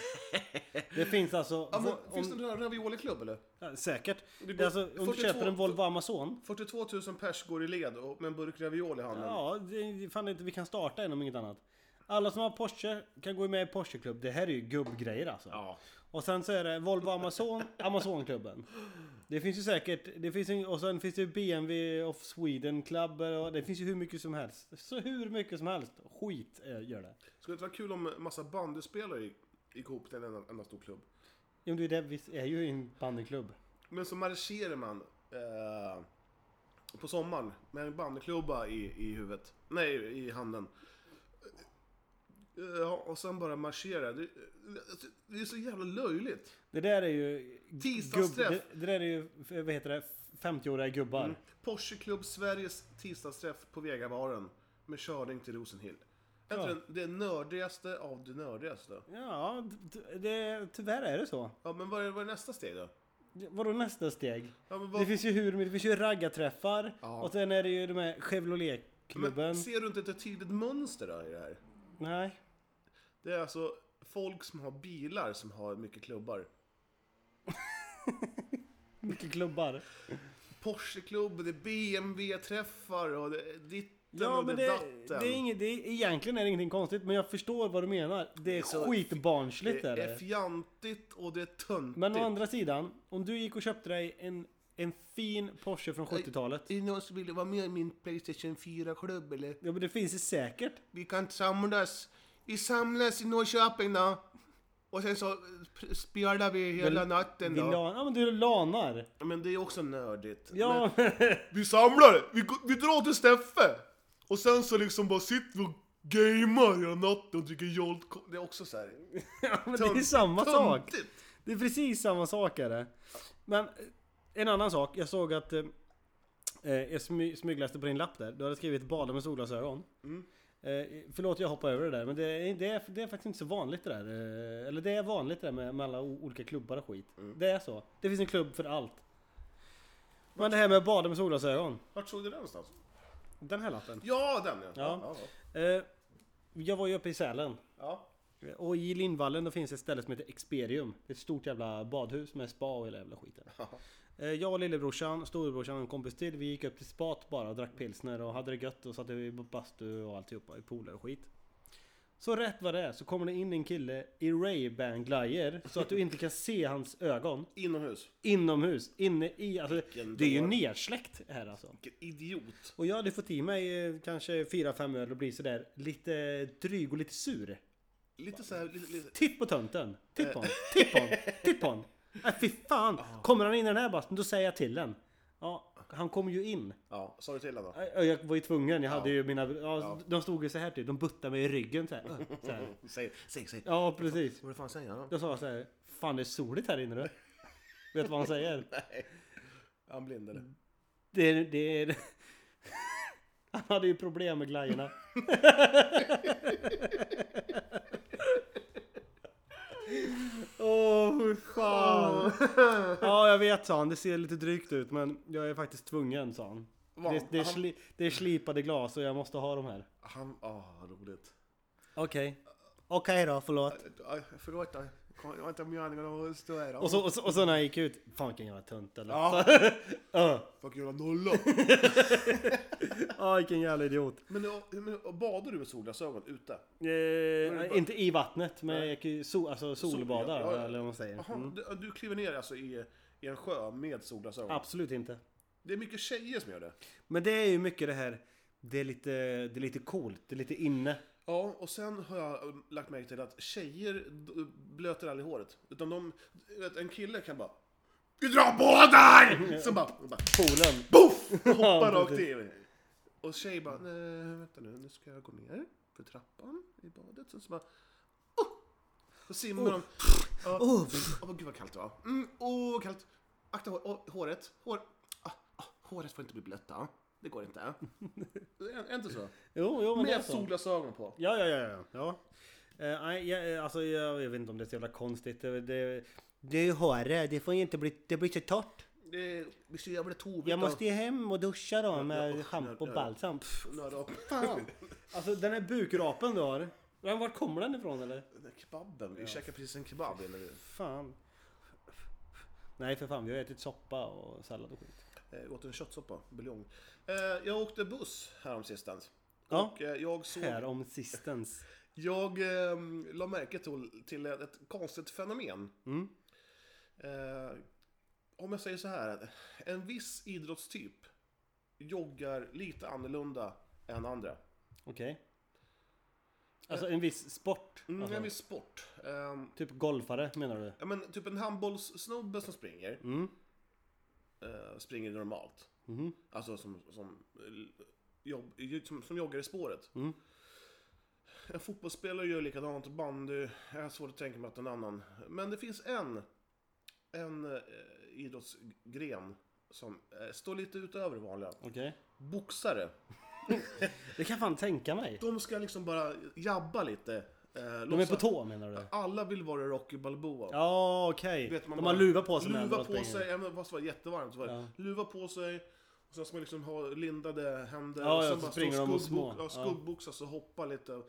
B: Det finns alltså...
A: Ja, men,
B: om,
A: finns det en ravioli-klubb eller?
B: ja, säkert.
A: Det
B: Det är alltså, om du
A: 42
B: köper en Volvo Amazon.
A: 42 000 pers går i led och, med en burk ravioli i handen.
B: Ja, det, fan inte, vi kan starta en om inget annat. Alla som har Porsche kan gå med i Porscheklubb. Det här är ju gubbgrejer alltså.
A: Ja.
B: Och sen så är det Volvo Amazon, Amazonklubben. Det finns ju säkert, det finns en, och sen finns det ju BMW of Sweden Club och det finns ju hur mycket som helst. Så hur mycket som helst. Skit eh, gör det.
A: Skulle det vara kul om massa bandyspelare gick, gick ihop till en enda, enda stor klubb?
B: Jo, det är det, vi är ju i en bandyklubb.
A: Men så marscherar man eh, på sommaren med en bandyklubba i, i huvudet. Nej, i handen. Eh, Ja, och sen bara marschera. Det, det- det är så jävla löjligt.
B: Det där är ju...
A: Tisdagsträff. Mm.
B: det, det där är ju, vad heter det, 50-åriga gubbar.
A: Porscheklubb Sveriges tisdagsträff på Vegabaren med körning till Rosenhill. Är
B: Ja.
A: inte den- Det nördigaste av det nördigaste.
B: Ja, d- d- det, tyvärr är det så.
A: Ja, men vad är, vad är nästa steg då?
B: Vadå nästa steg?
A: Ja, men
B: Det
A: vad,
B: finns ju hur mycket, det finns ju raggarträffar
A: Ja.
B: och sen är det ju de här Chevrolet-klubben.
A: men ser du inte ett tydligt mönster då i det här?
B: Nej.
A: Det är alltså folk som har bilar som har mycket klubbar.
B: Mycket klubbar.
A: Porscheklubb, det är BMW-träffar och det är ditten
B: Ja
A: och
B: men
A: det är
B: det,
A: datten.
B: det är inget, det är, egentligen är det ingenting konstigt men jag förstår vad du menar. Det är
A: Så-
B: skitbarnsligt är
A: det
B: det.
A: är fjantigt och det är töntigt.
B: Men å andra sidan, om du gick och köpte dig en, en fin Porsche från 70-talet.
A: Är det någon som vill vara med i min Playstation 4-klubb eller?
B: Ja men det finns det säkert.
A: Vi kan samlas Vi samlas i Norrköping då. Och sen så pr- spelar vi hela natten
B: Vi
A: då.
B: la- Ja men du lanar.
A: Men det är också nördigt.
B: Ja.
A: Vi samlar, vi, går- vi drar till Steffe. Och sen så liksom bara sitter vi och gamear hela natten och dricker Jolt. Det är också så här.
B: men det är samma sak.
A: töntigt.
B: Det är precis samma sak är det. Men eh, en annan sak. Jag såg att eh, eh, jag smy, smygläste på din lapp där. Du hade skrivit bada med solglasögon. Eh, förlåt jag hoppar över det där men det är, det, är, det är faktiskt inte så vanligt det där. Eh, eller det är vanligt det där med, med alla o- olika klubbar och skit. Det är så. Det finns en klubb för allt. Men det här med att bada med solglasögon.
A: Vart såg du den någonstans?
B: Den här lappen.
A: Ja, den ja.
B: Ja.
A: ja.
B: Eh, jag var ju uppe i Sälen.
A: ja.
B: Och i Lindvallen då finns ett ställe som heter Experium. Det är ett stort jävla badhus med spa och hela jävla skiten. Eh, Jag och lillebrorsan, storebrorsan och en kompis till, vi gick upp till spat bara och drack pilsner och hade det gött och satt i bastu och alltihopa i pooler och skit. Så rätt vad det är så kommer det in en kille i Ray-Ban glajjor så att du inte kan se hans ögon
A: Inomhus.
B: inomhus, inne i, alltså det är ju
A: dår.
B: nedsläckt här alltså.
A: Vilken idiot.
B: Och jag hade fått i mig eh, kanske 4-5 öl och blir sådär lite dryg och lite sur.
A: Lite så här, lite, lite.
B: Titt på tönten! Titt på hon! Titt på hon! Titt på hon! Äh, fy fan! Kommer han in i den här bastun, då säger jag till den. Ja, han kom ju in.
A: Ja, sa du till henne då?
B: Äh, äh, Jag var ju tvungen, jag hade ju mina... Ja, de stod ju så här typ, de buttade mig i ryggen så här. Äh, Så här.
A: Säg, säg, säg.
B: Ja, precis.
A: Vad fan säger han?
B: Då sa jag så här. Fan det är soligt här inne du. Vet du vad han säger?
A: Är han blind eller?
B: Det är... Det är... Han hade ju problem med glajjorna. Åh, fy fan. Ja, jag vet sa han. Det ser lite drygt ut men jag är faktiskt tvungen sa han. Det, det, är, sli, det är slipade glas och jag måste ha de här.
A: Han, ah, vad roligt.
B: Okej. Okej då, förlåt.
A: Aj, Förlåt, aj. Kom, jag har inte meningen att stå här.
B: Och så, och, så, och så när jag gick ut. Fan vilken jävla tönt eller? Ja.
A: Fuck jävla nolla.
B: ah, vilken jävla idiot.
A: men ja, men badar du med solglasögon ute?
B: Eh, inte i vattnet men jag gick ju sol, alltså solbadar
A: ja, ja.
B: eller vad man säger.
A: Jaha, du, du kliver ner alltså i, i en sjö med solglasögon?
B: Absolut inte.
A: Det är mycket tjejer som gör det.
B: Men det är ju mycket det här. Det är lite, det är lite coolt, det är lite inne.
A: Ja, och sen har jag um, lagt märke till att tjejer d- blöter aldrig håret. Utan de, du vet, en kille kan bara Vi drar båtar! Så bara, och bara
B: Poolen.
A: boff! Och hoppar
B: Ja,
A: rakt
B: precis.
A: i. Och tjej bara, nej vänta nu, nu ska jag gå ner för trappan i badet. Sen så bara, oh! Så simmar de. Ja. Åh, gud vad kallt det var. Mm, åh, vad kallt. Akta hår, åh, håret. Hår, ah, ah, håret får inte bli blött då. Det går inte. Är är inte så?
B: Jo, jo men det är
A: Med
B: så.
A: solglasögon på.
B: Ja, ja, ja, ja. ja. Eh, nej, jag, eh, alltså jag, jag vet inte om det är så jävla konstigt. Det, det, det är ju håret, det får ju inte bli, det blir så torrt.
A: Det blir så jävla tovigt.
B: Jag måste ju hem och duscha då
A: ja,
B: med
A: usch,
B: schampo
A: ja,
B: och
A: ja.
B: balsam. Pff,
A: Några
B: Fan! Alltså den här bukrapen du har. Men Vart kommer den ifrån eller?
A: kebaben. Vi käkade precis en kebab innan vi
B: Fan. Nej för fan, vi har ätit soppa och sallad och skit.
A: eh, åt en köttsoppa, buljong. Eh, jag åkte buss häromsistens.
B: Ja.
A: Och eh, jag såg...
B: Här om sistens.
A: Jag eh, la märke till, till ett konstigt fenomen.
B: Mm.
A: Eh, om jag säger så här. En viss idrottstyp joggar lite annorlunda än andra.
B: Okej. Alltså en viss sport?
A: Eh. Mm,
B: alltså,
A: En viss sport. Eh,
B: Typ golfare menar du?
A: Ja men typ en handbollssnubbe som springer. eh, springer normalt.
B: Mhm.
A: Alltså som, som, eh, jobb, som, som joggar i spåret.
B: Mm.
A: En fotbollsspelare gör likadant, bandy. Jag har svårt att tänka mig att en annan. Men det finns en, en eh, idrottsgren som eh, står lite utöver det vanliga.
B: Okej.
A: Boxare.
B: Det kan fan tänka mig.
A: De ska liksom bara jabba lite. eh,
B: De är
A: låtsas-
B: på tå menar du?
A: Alla vill vara Rocky Balboa.
B: Ja okej.
A: Du vet, man
B: De
A: bara-
B: har luva på sig
A: Luva
B: medan de
A: på
B: springer.
A: sig, även fast det var jättevarmt. Så var det.
B: Ja.
A: Luva på sig, och sen ska man liksom ha lindade händer.
B: Ja,
A: och
B: ja,
A: sen
B: så
A: bara stå
B: springer de och
A: skuggbo-
B: små.
A: Ja,
B: Ja.
A: skuggboxas och hoppa lite.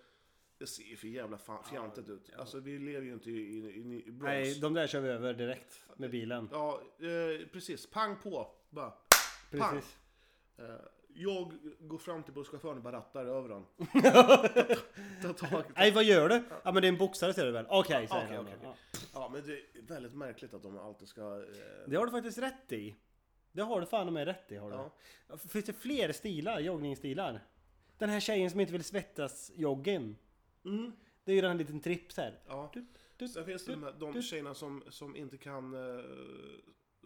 A: Det ser ju för jävla fan, fjantigt ut. Alltså vi lever ju inte i, i, i, i Bronx.
B: Nej, de där kör vi över direkt med bilen.
A: Ja, eh, precis. Pang på. Bara. Pang.
B: Precis.
A: Eh, jag går fram till busschauffören och bara rattar över honom. Ta tag i
B: Nej vad gör du? Ja men det är en boxare ser du väl? Okej säger
A: okej,
B: han.
A: okej,
B: då.
A: okej. Ja, men det är väldigt märkligt att de alltid ska... Eh,
B: Det har du faktiskt rätt i. Det har du fan med rätt i har du. Finns det
A: Mm.
B: fler stilar, joggningsstilar? Den här tjejen som inte vill svettas joggen. Det är ju den här liten tripp så här.
A: Ja.
B: Du, du,
A: Sen finns det
B: du,
A: de, här, de
B: du.
A: tjejerna som, som inte kan... eh,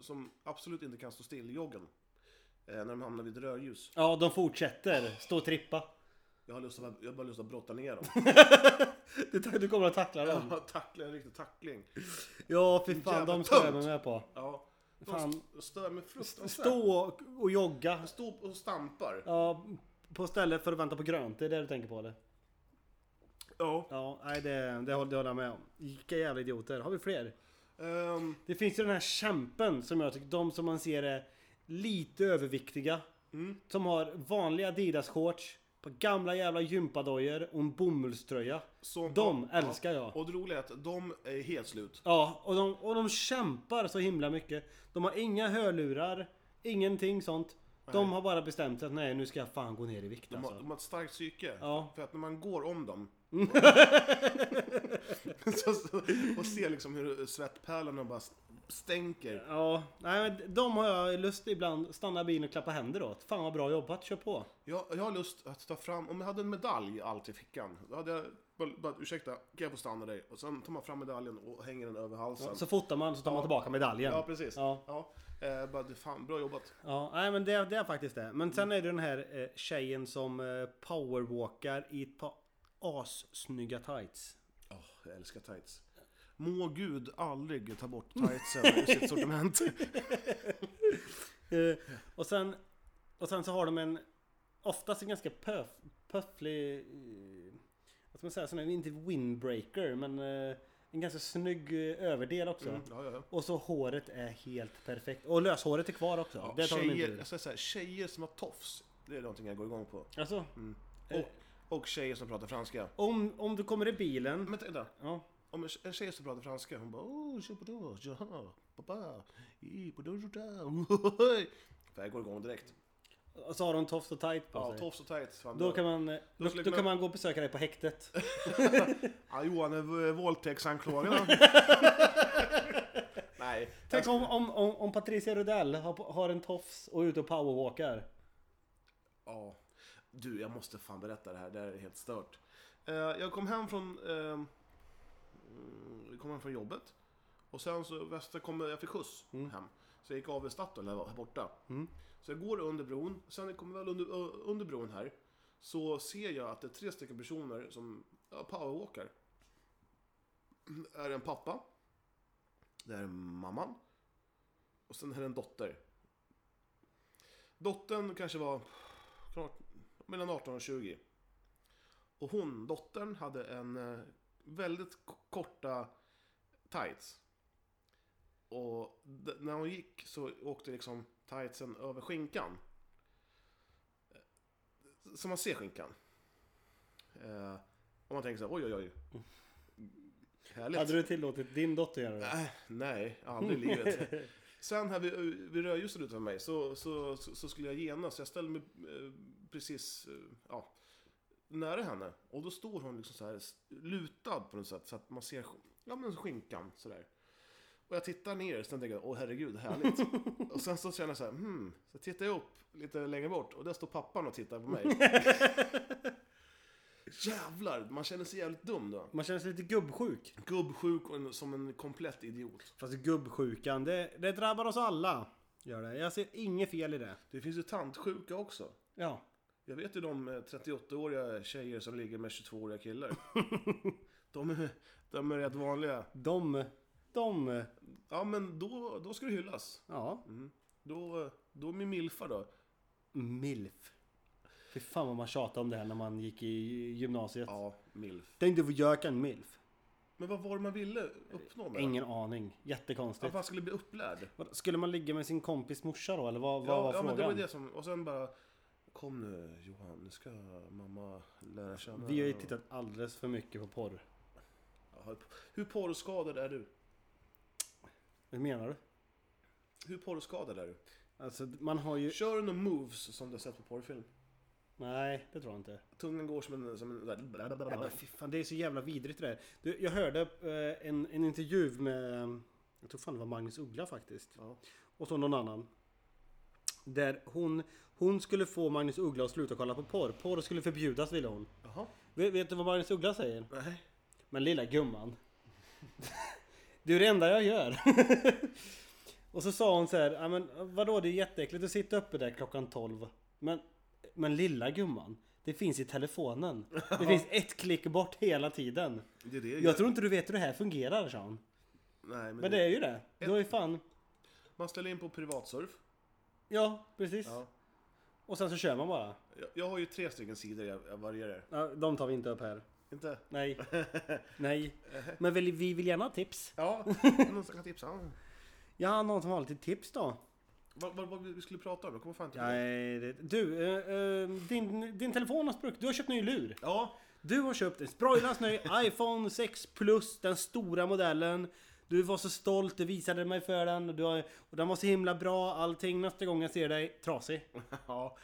A: Som absolut inte kan stå still i joggen. Eh, När de hamnar vid ett rödljus.
B: Ja, de fortsätter stå och trippa.
A: Jag har, lust att, jag har bara lust att brotta ner dem.
B: Det tror jag du kommer att tackla dem.
A: Ja, tackla en riktig tackling.
B: Ja, fy fan,
A: Jävla
B: de står jag
A: tungt.
B: med mig på.
A: Ja. De
B: Fan.
A: st- stör mig fruktansvärt.
B: Stå och- och jogga.
A: Stå och stampar.
B: Ja, på stället för att vänta på grönt. Det är det du tänker på eller?
A: Ja.
B: Ja, nej det, det, håller, det håller jag med om. Vilka jävla idioter. Har vi fler?
A: Ehm,
B: Det finns ju den här kämpen som jag tycker, de som man ser är lite överviktiga. Som har vanliga Adidas-shorts, på gamla jävla gympadojor och en bomullströja.
A: så-
B: De älskar jag.
A: Och det roliga är att de är helt slut.
B: Ja, och de, och de kämpar så himla mycket. De har inga hörlurar, ingenting sånt. De har bara bestämt sig att nej, nu ska jag fan gå ner i vikt
A: De har,
B: alltså.
A: de har ett starkt psyke.
B: Ja.
A: För att när man går om dem så, så, och ser liksom hur svettpärlorna bara stänker.
B: Ja, nej men de har jag lust ibland stanna i bilen och klappa händer åt. Fan vad bra jobbat, kör på.
A: Jag, jag har lust att ta fram, om jag hade en medalj allt i fickan, då hade jag bara, bara ursäkta, kan jag få stanna dig? Och sen tar man fram medaljen och hänger den över halsen.
B: Så fotar man så tar man tillbaka medaljen.
A: Ja, precis.
B: Ja.
A: Ja. Eh, bara, det- fan, bra jobbat.
B: Ja, nej men det, det är faktiskt det. Men sen är det den här eh, tjejen som eh, powerwalkar i ett par assnygga tights.
A: Åh, jag älskar tights. Må Gud aldrig ta bort tightsen ur sitt sortiment.
B: Eh, och, sen, och sen så har de en oftast en ganska puff, pufflig... eh, Vad ska man säga? Sån här, inte windbreaker men eh, en ganska snygg eh, överdel också.
A: Ja, ja, ja.
B: Och så håret är helt perfekt. Och löshåret är kvar också.
A: Ja,
B: det tar de inte
A: tjejer,
B: ur.
A: jag ska säga, tjejer som har tofs, det är någonting jag går igång på.
B: Alltså,
A: Och, och tjejer som pratar franska.
B: om, om du kommer i bilen...
A: Men vänta,
B: Ja.
A: om en tje- en tjej som pratar franska, hon bara oh, je peux jaha, papa, i peux där. För jag går igång direkt.
B: Och så har de tofs och tight på
A: Ja,
B: sig.
A: tofs och tights. Fan,
B: Då
A: bra.
B: kan man, eh, då,
A: skulle
B: då
A: man-
B: kan man gå och besöka dig på häktet.
A: ah, Johan är eh, våldtäktsanklagad. Nej.
B: Tänk om, om, om, om Patricia Rudell har, har en tofs och är ute och powerwalkar.
A: Ja. Du, jag måste fan berätta det här. Det här är helt stört. Eh, jag kom hem från... Eh, mm, kom hem från jobbet. Och sen så väster kom, jag fick skjuts
B: Mm.
A: hem. Så jag gick av i Statoil här, här borta. Så jag går under bron. Sen när jag kommer väl under, ö, under bron här. Så ser jag att det är tre stycken personer som ja, powerwalkar. Det är en pappa. Det är mamman. Och sen är det en dotter. Dottern kanske var klart, mellan 18 och 20. Och hon, dottern, hade en eh, väldigt k- korta tights. Och d- när hon gick så åkte liksom tightsen över skinkan. Eh, Så man ser skinkan. Eh, och man tänker så här, oj oj oj. Härligt.
B: Hade du tillåtit din dotter göra det?
A: Äh, nej, aldrig i livet. Sen här vid, vid rödljuset utanför mig så, så, så, så skulle jag genast, jag ställde mig eh, precis eh, ja, nära henne. Och då står hon liksom så här s- lutad på något sätt så att man ser sk- ja, men skinkan sådär. Och jag tittar ner och sen tänker jag, åh herregud, härligt. och sen så känner jag så här, hmm. Så tittar jag upp lite längre bort och där står pappan och tittar på mig. Jävlar, man känner sig jävligt dum då.
B: Man känner sig lite gubbsjuk.
A: Gubbsjuk och en, som en komplett idiot.
B: Fast gubbsjukan, det, det drabbar oss alla. Gör det. Jag ser inget fel i det.
A: Det finns ju tantsjuka också.
B: Ja.
A: Jag vet ju de eh, 38-åriga tjejer som ligger med 22-åriga killar. de, är, de är rätt vanliga.
B: De, de,
A: Ja, men då, då ska det hyllas.
B: ja.
A: Då, eh, då är min milfa då.
B: Milf. Fy fan vad man tjatade om det här när man gick i gymnasiet.
A: Ja, milf.
B: Tänkte vad jag kan milf.
A: Men vad var det man ville uppnå med det?
B: Ingen aning.
A: Att
B: Jättekonstigt.
A: man skulle bli upplärd.
B: Vadå, Skulle man ligga med sin kompis morsa då eller vad, vad
A: ja,
B: var
A: ja,
B: frågan?
A: men det var ju det som... Och sen bara... Kom nu Johan, nu ska mamma lära känna...
B: Vi har ju tittat alldeles för mycket på porr.
A: Ja, Hur porrskadad är du?
B: Hur menar du?
A: Hur porrskadad är du?
B: Alltså man har ju...
A: Kör du några moves som du har sett på porrfilm?
B: Nej, det tror jag inte.
A: Tungan går som en... Som en
B: Nej, men fy fan, det är så jävla vidrigt det där. Du, jag hörde eh, en, en intervju med... eh, Jag tror fan det var Magnus Uggla faktiskt.
A: Ja.
B: Och så någon annan. Där hon, hon skulle få Magnus Uggla att sluta kolla på porr. Porr skulle förbjudas ville hon.
A: Jaha.
B: Vet, vet du vad Magnus Uggla säger?
A: Nej.
B: Men lilla gumman. Du är det enda jag gör. Och så sa hon så här, "Ja, men vadå det är jätteäckligt att sitta uppe där klockan 12. Men, men lilla gumman, det finns i telefonen. Det finns ett klick bort hela tiden.
A: Det är det jag gör.
B: Jag tror inte du vet hur det här fungerar, sa hon.
A: Nej, men,
B: Men det är ju det. Du har ju fan...
A: Man ställer in på privatsurf.
B: Ja, precis.
A: Ja.
B: Och sen så kör man bara.
A: Jag, jag har ju tre stycken sidor jag, jag varierar.
B: Ja, de tar vi inte upp här.
A: Inte?
B: Nej. Nej. Men vill, vi vill gärna ha tips.
A: Ja, någon som kan tipsa. Ja.
B: Ja, någon som har lite tips då?
A: Vad, vad, vad vi skulle prata om? Jag kommer fan inte ihåg.
B: Nej, det... Du, eh, eh, din, din telefon har spruckit. Du har köpt ny lur.
A: Ja,
B: Du har köpt en sproilans ny iPhone 6 Plus, den stora modellen. Du var så stolt, du visade mig för den och, du har, och den var så himla bra allting. Nästa gång jag ser dig, trasig.
A: ja.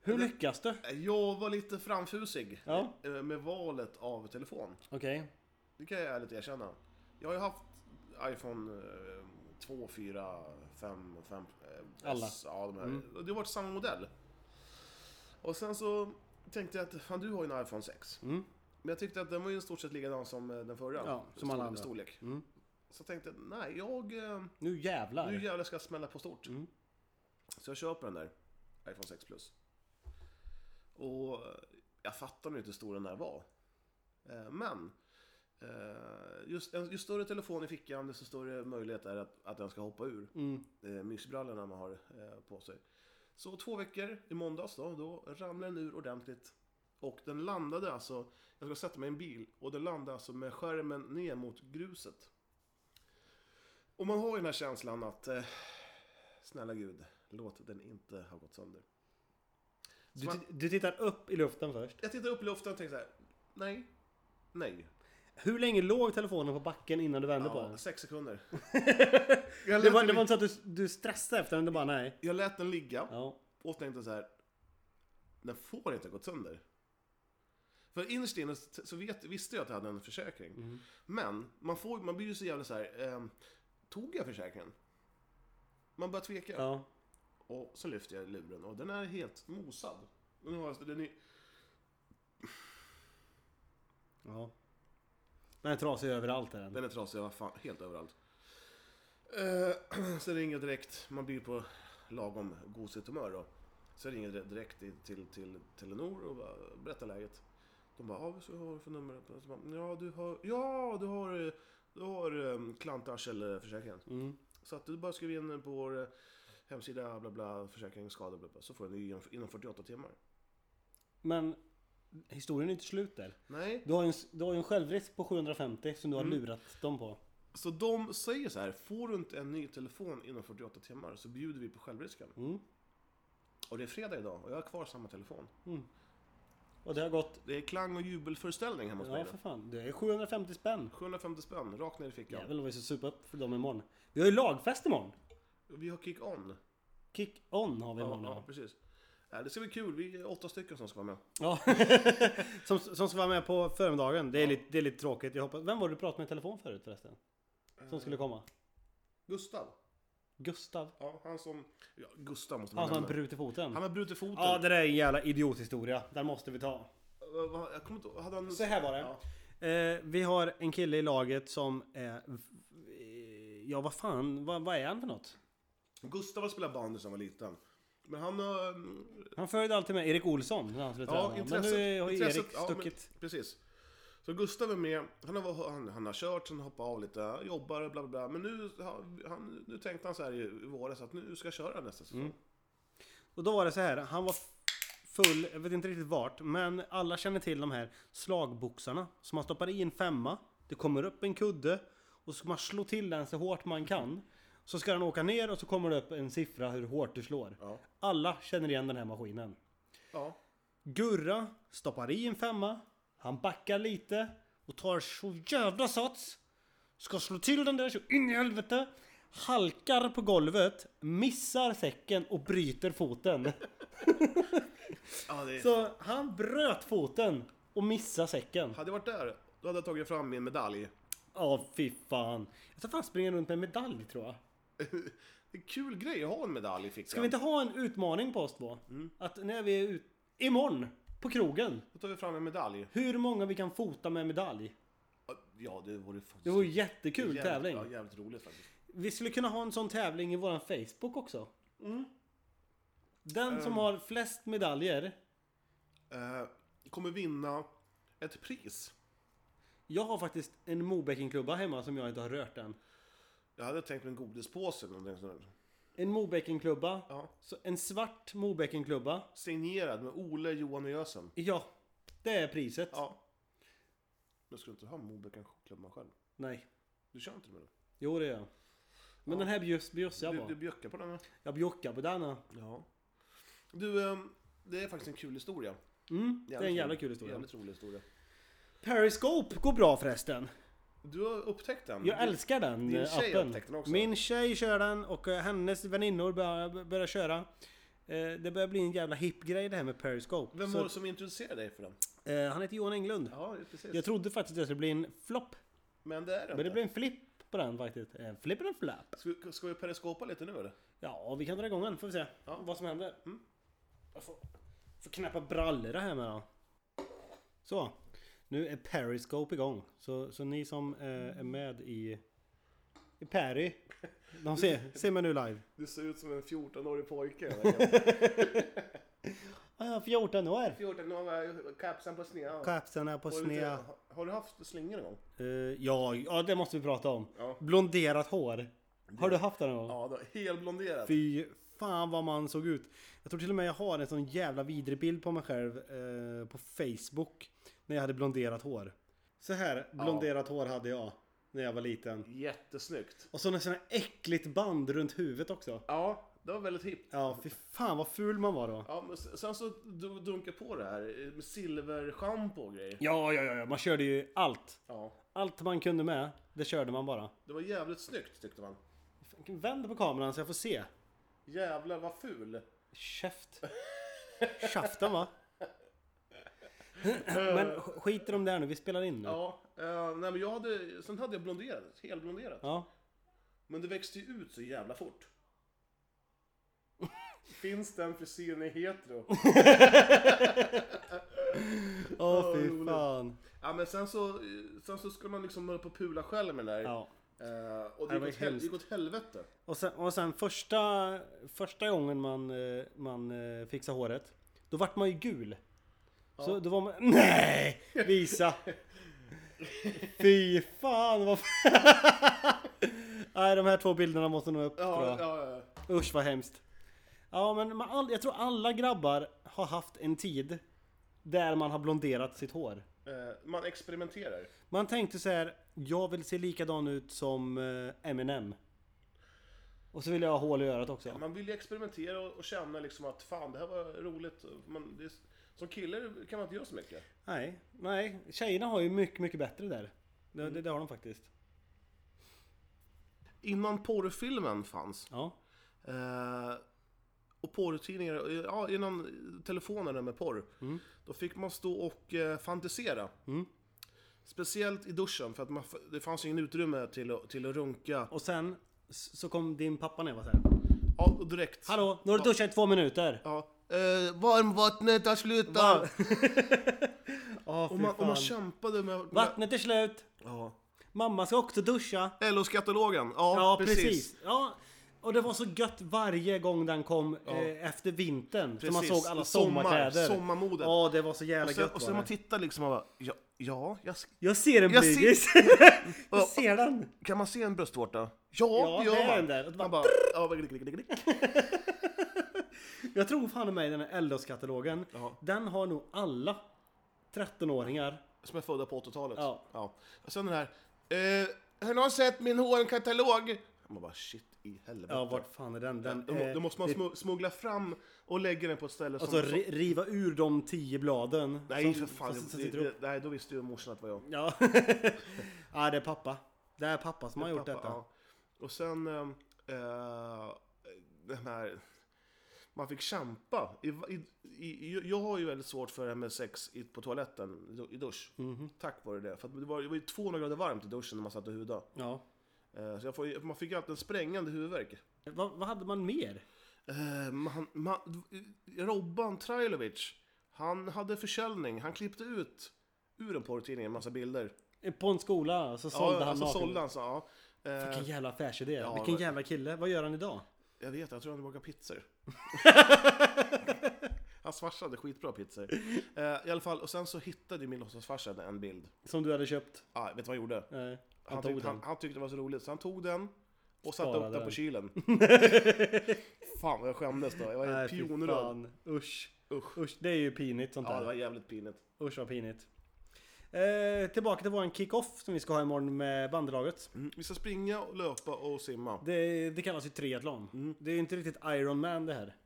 B: Hur lyckas du?
A: Jag var lite framfusig
B: Ja.
A: eh, med valet av telefon.
B: Okej.
A: Det kan jag ärligt erkänna. Jag har ju haft iPhone eh, 2, 4, 5, 5 eh,
B: Alla. Mm.
A: S, ja, de här. Och Det har varit samma modell. Och sen så tänkte jag att fan du har ju en iPhone 6. Men jag tyckte att den var ju i stort sett likadan som eh, den förra.
B: Mm. Ja, som
A: Stor-
B: alla andra. Mm.
A: Storlek. Så tänkte jag, nej jag... eh,
B: Nu jävlar.
A: Nu jävlar ska jag smälla på stort. Så jag köper den där iPhone 6 Plus. Och eh, jag fattar nu inte hur stor den där var. Eh, Men eh, just, en- ju större telefon i fickan desto större möjlighet är det att, att den ska hoppa ur eh, mysbrallorna man har eh, på sig. Så två veckor i måndags då, då ramlade den ur ordentligt. Och den landade alltså, jag ska sätta mig i en bil och den landade alltså med skärmen ner mot gruset. Och man har ju den här känslan att eh, snälla gud, låt den inte ha gått sönder.
B: Du, ti- du tittar upp i luften först.
A: Jag tittar upp i luften och tänker så här, nej, nej.
B: Hur länge låg telefonen på backen innan du vände på
A: Ja,
B: den?
A: sex sekunder. jag,
B: Det
A: lät
B: var, det
A: den,
B: var inte så att du, du stressade efter den, du bara nej.
A: jag lät den ligga
B: Ja.
A: och tänkte så här, den får inte ha gått sönder. För innerst inne så vet, visste jag att jag hade en försäkring.
B: Mm.
A: Men man, får, man blir ju så jävla så här, ehm, tog jag försäkringen? Man börjar tveka.
B: ja.
A: Och så lyfter jag luren och den är helt mosad. Den har, den är,
B: Ja. Den är trasig överallt är den.
A: Den är trasig, vad fan, helt överallt. Eh, så ringer jag direkt, man blir på lagom gosigt humör då. Så jag ringer jag direkt till, till, till Telenor och bara berättar läget. De bara, ja, vad har du för nummer? Och så bara, Ja, du har, ja, du har, eh, du har um, klantarselförsäkringen. Så att du bara skriver in på vår eh, hemsida, bla bla, försäkring, skada, bla, bla, så får du en ny inom- inom 48 timmar.
B: Men historien är inte slut där.
A: Nej,
B: Du har ju en, s- du har ju en självrisk på 750 som du har
A: Mm.
B: lurat dem på.
A: Så de säger så här, får du inte en ny telefon inom 48 timmar så bjuder vi på självrisken.
B: Mm.
A: Och det är fredag idag och jag har kvar samma telefon.
B: Och det har gått...
A: Det är klang och jubelföreställning hemma hos mig
B: Ja
A: nu.
B: för fan. Det är 750 spänn.
A: 750 spänn, rakt ner i fickan.
B: Jävlar vad vi ska supa upp för dem imorgon. Vi har ju lagfest imorgon.
A: Vi har kick-on.
B: Kick-on har vi
A: Ja,
B: imorgon.
A: ja,
B: Ja.
A: precis. Äh, Det ska bli kul, vi är åtta stycken som ska vara med.
B: ja. som, som ska vara med på förmiddagen. Det är, lite, det är lite tråkigt. Jag hoppas... Vem var det du pratade med i telefon förut förresten? Som
A: Eh.
B: skulle komma?
A: Gustav.
B: Gustav?
A: Ja, han som... Ja, Gustav måste man
B: Han som har
A: nämna.
B: brutit foten.
A: Han har brutit foten.
B: Ja, det där är en jävla idiothistoria. Den måste vi ta.
A: Vad- vad- Jag kommer inte ihåg, hade han...
B: Så här var det.
A: Ja.
B: Eh, vi har en kille i laget som är... eh, Ja, vad fan, vad, vad är han för något?
A: Gustav har spelat bandy sedan han var liten. Men han har... mm,
B: Han följde alltid med Erik Olsson när han skulle
A: Ja,
B: träna. Men nu
A: intresset.
B: har ju
A: intresset-
B: Erik
A: ja, men
B: stuckit.
A: precis. Så Gustav är med, han har, han, han har kört, sen hoppat av lite, jobbar och bla bla bla. Men nu, har- han, nu tänkte han så här i i våras att nu ska jag köra nästa säsong.
B: Mm. Och då var det så här, han var full, jag vet inte riktigt vart, men alla känner till de här slagboxarna. Så man stoppar i en femma, det kommer upp en kudde och så ska man slå till den så hårt man kan. Så ska den åka ner och så kommer det upp en siffra hur hårt du slår.
A: Ja.
B: Alla känner igen den här maskinen.
A: Ja.
B: Gurra stoppar i en femma. Han backar lite och tar så jävla sats. Ska slå till den där så in i helvete. Halkar på golvet, missar säcken och bryter foten.
A: ja det,
B: Så han bröt foten och missade säcken.
A: Hade jag varit där, då hade jag tagit fram min medalj.
B: Ja, fy fan. Jag ska fan springa runt med en medalj tror jag.
A: Det är en kul grej att ha en medalj i fickan.
B: Ska vi inte ha en utmaning på oss två? Att när vi är ut... Imorgon! På krogen!
A: Då tar vi fram en medalj.
B: Hur många vi kan fota med medalj?
A: Ja,
D: Ja, det vore faktiskt...
B: Det vore jättekul
D: jävligt-
B: tävling.
D: Ja, jävligt roligt faktiskt.
B: Vi skulle kunna ha en sån tävling i våran Facebook också.
A: Mm.
B: Den
A: Ehm.
B: som har flest medaljer.
A: Eh, kommer vinna ett pris.
B: Jag har faktiskt en Mobäckenklubba hemma som jag inte har rört än.
A: Jag hade tänkt mig en godispåse eller någonting sånt där.
B: En Mobäckenklubba.
A: Ja.
B: Så en svart Mobäckenklubba.
A: Signerad med Ole, Johan och Jösen.
B: Ja, det är priset.
A: Ja. Men skulle du inte ha Mobäcken klubban själv?
B: Nej.
A: Du kör inte med den?
B: Jo, det gör jag. Men den här bjuss- bjussar jag
A: Du,
B: på.
A: du bjöckar på den? va?
B: Jag bjuckar på denna.
A: Ja. Du, ehm, det är faktiskt en kul historia.
B: Mm, det är en
A: Jävligt
B: jävla
A: rolig-
B: kul historia.
A: Jävligt rolig historia.
B: Periscope går bra förresten.
A: Du har upptäckt den?
B: Jag
A: Du-
B: älskar den
A: Din
B: eh,
A: tjej
B: appen.
A: upptäckte den också.
B: Min tjej kör den och eh, hennes väninnor börjar, börjar köra. Eh, Det börjar bli en jävla hipp grej det här med Periscope.
A: Vem
B: Så,
A: var det som introducerade dig för den?
B: eh, han heter Johan Englund.
A: Ja, precis.
B: Jag trodde faktiskt att det skulle bli en flopp.
A: Men det är den
B: Men det
A: inte.
B: blev en flipp på den faktiskt. En flipp och en flapp.
A: Ska, ska vi periskopa lite nu eller?
B: Ja, vi kan dra igång den. Får vi se vad som händer.
A: Mm.
B: Jag får, får knäppa brallorna här med då. Så. Nu är Periscope igång. Så, så ni som eh, är med i, i Perry. De ser, ser mig nu live.
A: Du ser ut som en 14-årig pojke. verkligen.
B: Ah, jag är 14 år.
A: 14 år, kapsen på sned.
B: Kapsen är på
A: Har du inte-
B: sned.
A: ha- Har du haft slingor någon gång?
B: Eh, ja, ja, det måste vi prata om.
A: Ja.
B: Blonderat hår. Har du haft det någon gång?
A: Ja, då, helblonderat.
B: Fy fan vad man såg ut. Jag tror till och med jag har en sån jävla vidrig bild på mig själv eh, på Facebook. När jag hade blonderat hår. Så här blonderat hår hade jag när jag var liten.
A: Jättesnyggt.
B: Och så något sån här äckligt band runt huvudet också.
A: Ja, det var väldigt hippt.
B: Ja, fy fan vad ful man var då.
A: Ja, men s- sen så du- dunkar på det här eh, med silverschampo och grejer.
B: Ja, ja, ja, ja, man körde ju allt.
A: Ja,
B: Allt man kunde med, det körde man bara.
A: det var jävligt snyggt tyckte man.
B: Vänd på kameran så jag får se.
A: Jävlar vad ful.
B: Käft. Käften va? Men sk- skiter de där nu, vi spelar in nu.
A: Ja, eh, nej men jag hade, sen hade jag blonderat, helblonderat.
B: Ja.
A: Men det växte ju ut så jävla fort. Finns den frisyren i hetero?
B: Åh
A: Ja,
B: fy
A: roligt.
B: fan.
A: ja men sen så, eh, sen så skulle man liksom hålla på och pula själv med det där.
B: Ja.
A: Eh, och
B: Det
A: det
B: var
A: gick, åt hel-
B: hemskt.
A: gick åt helvete.
B: Och sen, och sen första, första gången man, eh, man eh, fixar håret, då vart man ju gul. Så då var man... Nej! Visa! Fy fan vad... Nej, de här två bilderna måste nog upp tror
A: Ja,
B: jag.
A: ja, ja.
B: Usch vad hemskt. Ja men man, all, jag tror alla grabbar har haft en tid där man har blonderat sitt hår.
A: Eh, man experimenterar.
B: Man tänkte så här, jag vill se likadan ut som eh, Eminem. Och så vill jag ha hål i örat också.
A: Man vill ju experimentera och, och känna liksom att fan det här var roligt. Man, det, är- som kille kan man inte göra så mycket.
B: Nej, nej. Tjejerna har ju mycket, mycket bättre där. Det, det, det har de faktiskt.
A: Innan porrfilmen fanns
B: Ja.
A: eh, och porrtidningar, eh, ja innan telefonerna med porr. Då fick man stå och eh, fantisera. Speciellt i duschen för att man, f- det fanns ju ingen utrymme till, att- till att runka.
B: Och sen s- så kom din pappa ner och var så här.
A: Ja, och direkt.
B: Hallå, nu har du duschat i två minuter.
A: Ja. Eh, varmvattnet har slutat!
B: Varm- Åh,
A: Och
B: fy
A: man, och
B: fan.
A: man kämpade med... med
B: Vattnet är slut.
A: Ja.
B: Mamma ska också duscha.
A: LO-skatalogen, ja,
B: Ja,
A: precis.
B: precis. Ja. Och det var så gött varje gång den kom eh, efter vintern. Så man
A: Precis.
B: såg alla
A: Sommar-
B: sommarkläder.
A: sommarmodet.
B: Ja, det var så jävla
A: Och sen,
B: gött.
A: och sen
B: var
A: man
B: det.
A: tittar liksom och bara, ja, ja jag, sk-
B: jag ser en
A: Jag ser-
B: blygis. jag ser den.
A: kan man se en bröstvårta? Ja,
B: Ja,
A: det gör
B: det är
A: man.
B: den där. Och bara-
A: man bara, ja, glick, glick, glick, glick.
B: Jag tror fan i mig den här LDOS-katalogen.
A: Ja.
B: Den har nog alla 13-åringar.
A: Som är födda på 80-talet.
B: Ja.
A: Och sen den här, eh, har någon sett min HN-katalog? Man bara, shit i helvete.
B: Ja, vart fan är den? den
A: då,
B: eh,
A: då måste man
B: det-
A: smu- smuggla fram och lägga den på ett ställe
B: Alltså
A: som...
B: ri- riva ur de tio bladen.
A: nej,
B: som-
A: för fan.
B: som- som
A: det,
B: sitter upp.
A: det, nej, då visste ju morsan att det var jag.
B: Ja. ja, det är pappa. Det är pappa som har gjort
A: Pappa,
B: detta.
A: ja. Och sen eh, eh, den här... Man fick kämpa. I, i, i, jag har ju väldigt svårt för det här med sex i, på toaletten i du- i dusch.
B: Mhm.
A: Tack vare det. För att det, var, det var ju 200 grader varmt i duschen när man satt och hudade.
B: ja.
A: Eh, så jag får, ju- man fick ju alltid en sprängande huvudvärk.
B: Vad, vad hade man mer?
A: Eh, man, man, Robban Trailovic, han hade försäljning. Han klippte ut ur en porrtidning en massa bilder.
B: På en skola, så sålde
A: ja,
B: han
A: alltså,
B: naken.
A: sålde han så, ja. Eh,
B: Vilken jävla affärsidé.
A: Ja,
B: Vilken
A: men-
B: jävla kille. Vad gör han idag?
A: jag vet, jag tror han bakar pizzor. Hans farsa hade skitbra pizzor. Eh, I alla fall, och sen så hittade min låtsasfarsa en bild.
B: Som du hade köpt? Eh,
A: Ah, vet du vad han gjorde?
B: Nej, han,
A: Han,
B: tog
A: tyckte,
B: den.
A: han, han tyckte det var så roligt så han tog den och satte
B: Sparade
A: upp den på
B: den.
A: kylen. fan vad jag skämdes då. Jag var
B: Nej,
A: helt
B: fy
A: pionröd.
B: fan. Usch.
A: Usch.
B: Usch, det är ju pinigt sånt
A: Ja,
B: där.
A: det var jävligt pinigt.
B: Usch vad pinigt. Eh, tillbaka till våran kick-off som vi ska ha imorgon med bandlaget.
A: Mm. Vi ska springa, och löpa och simma.
B: Det, det kallas ju triathlon.
A: Mm.
B: Det är ju inte riktigt Iron Man det här.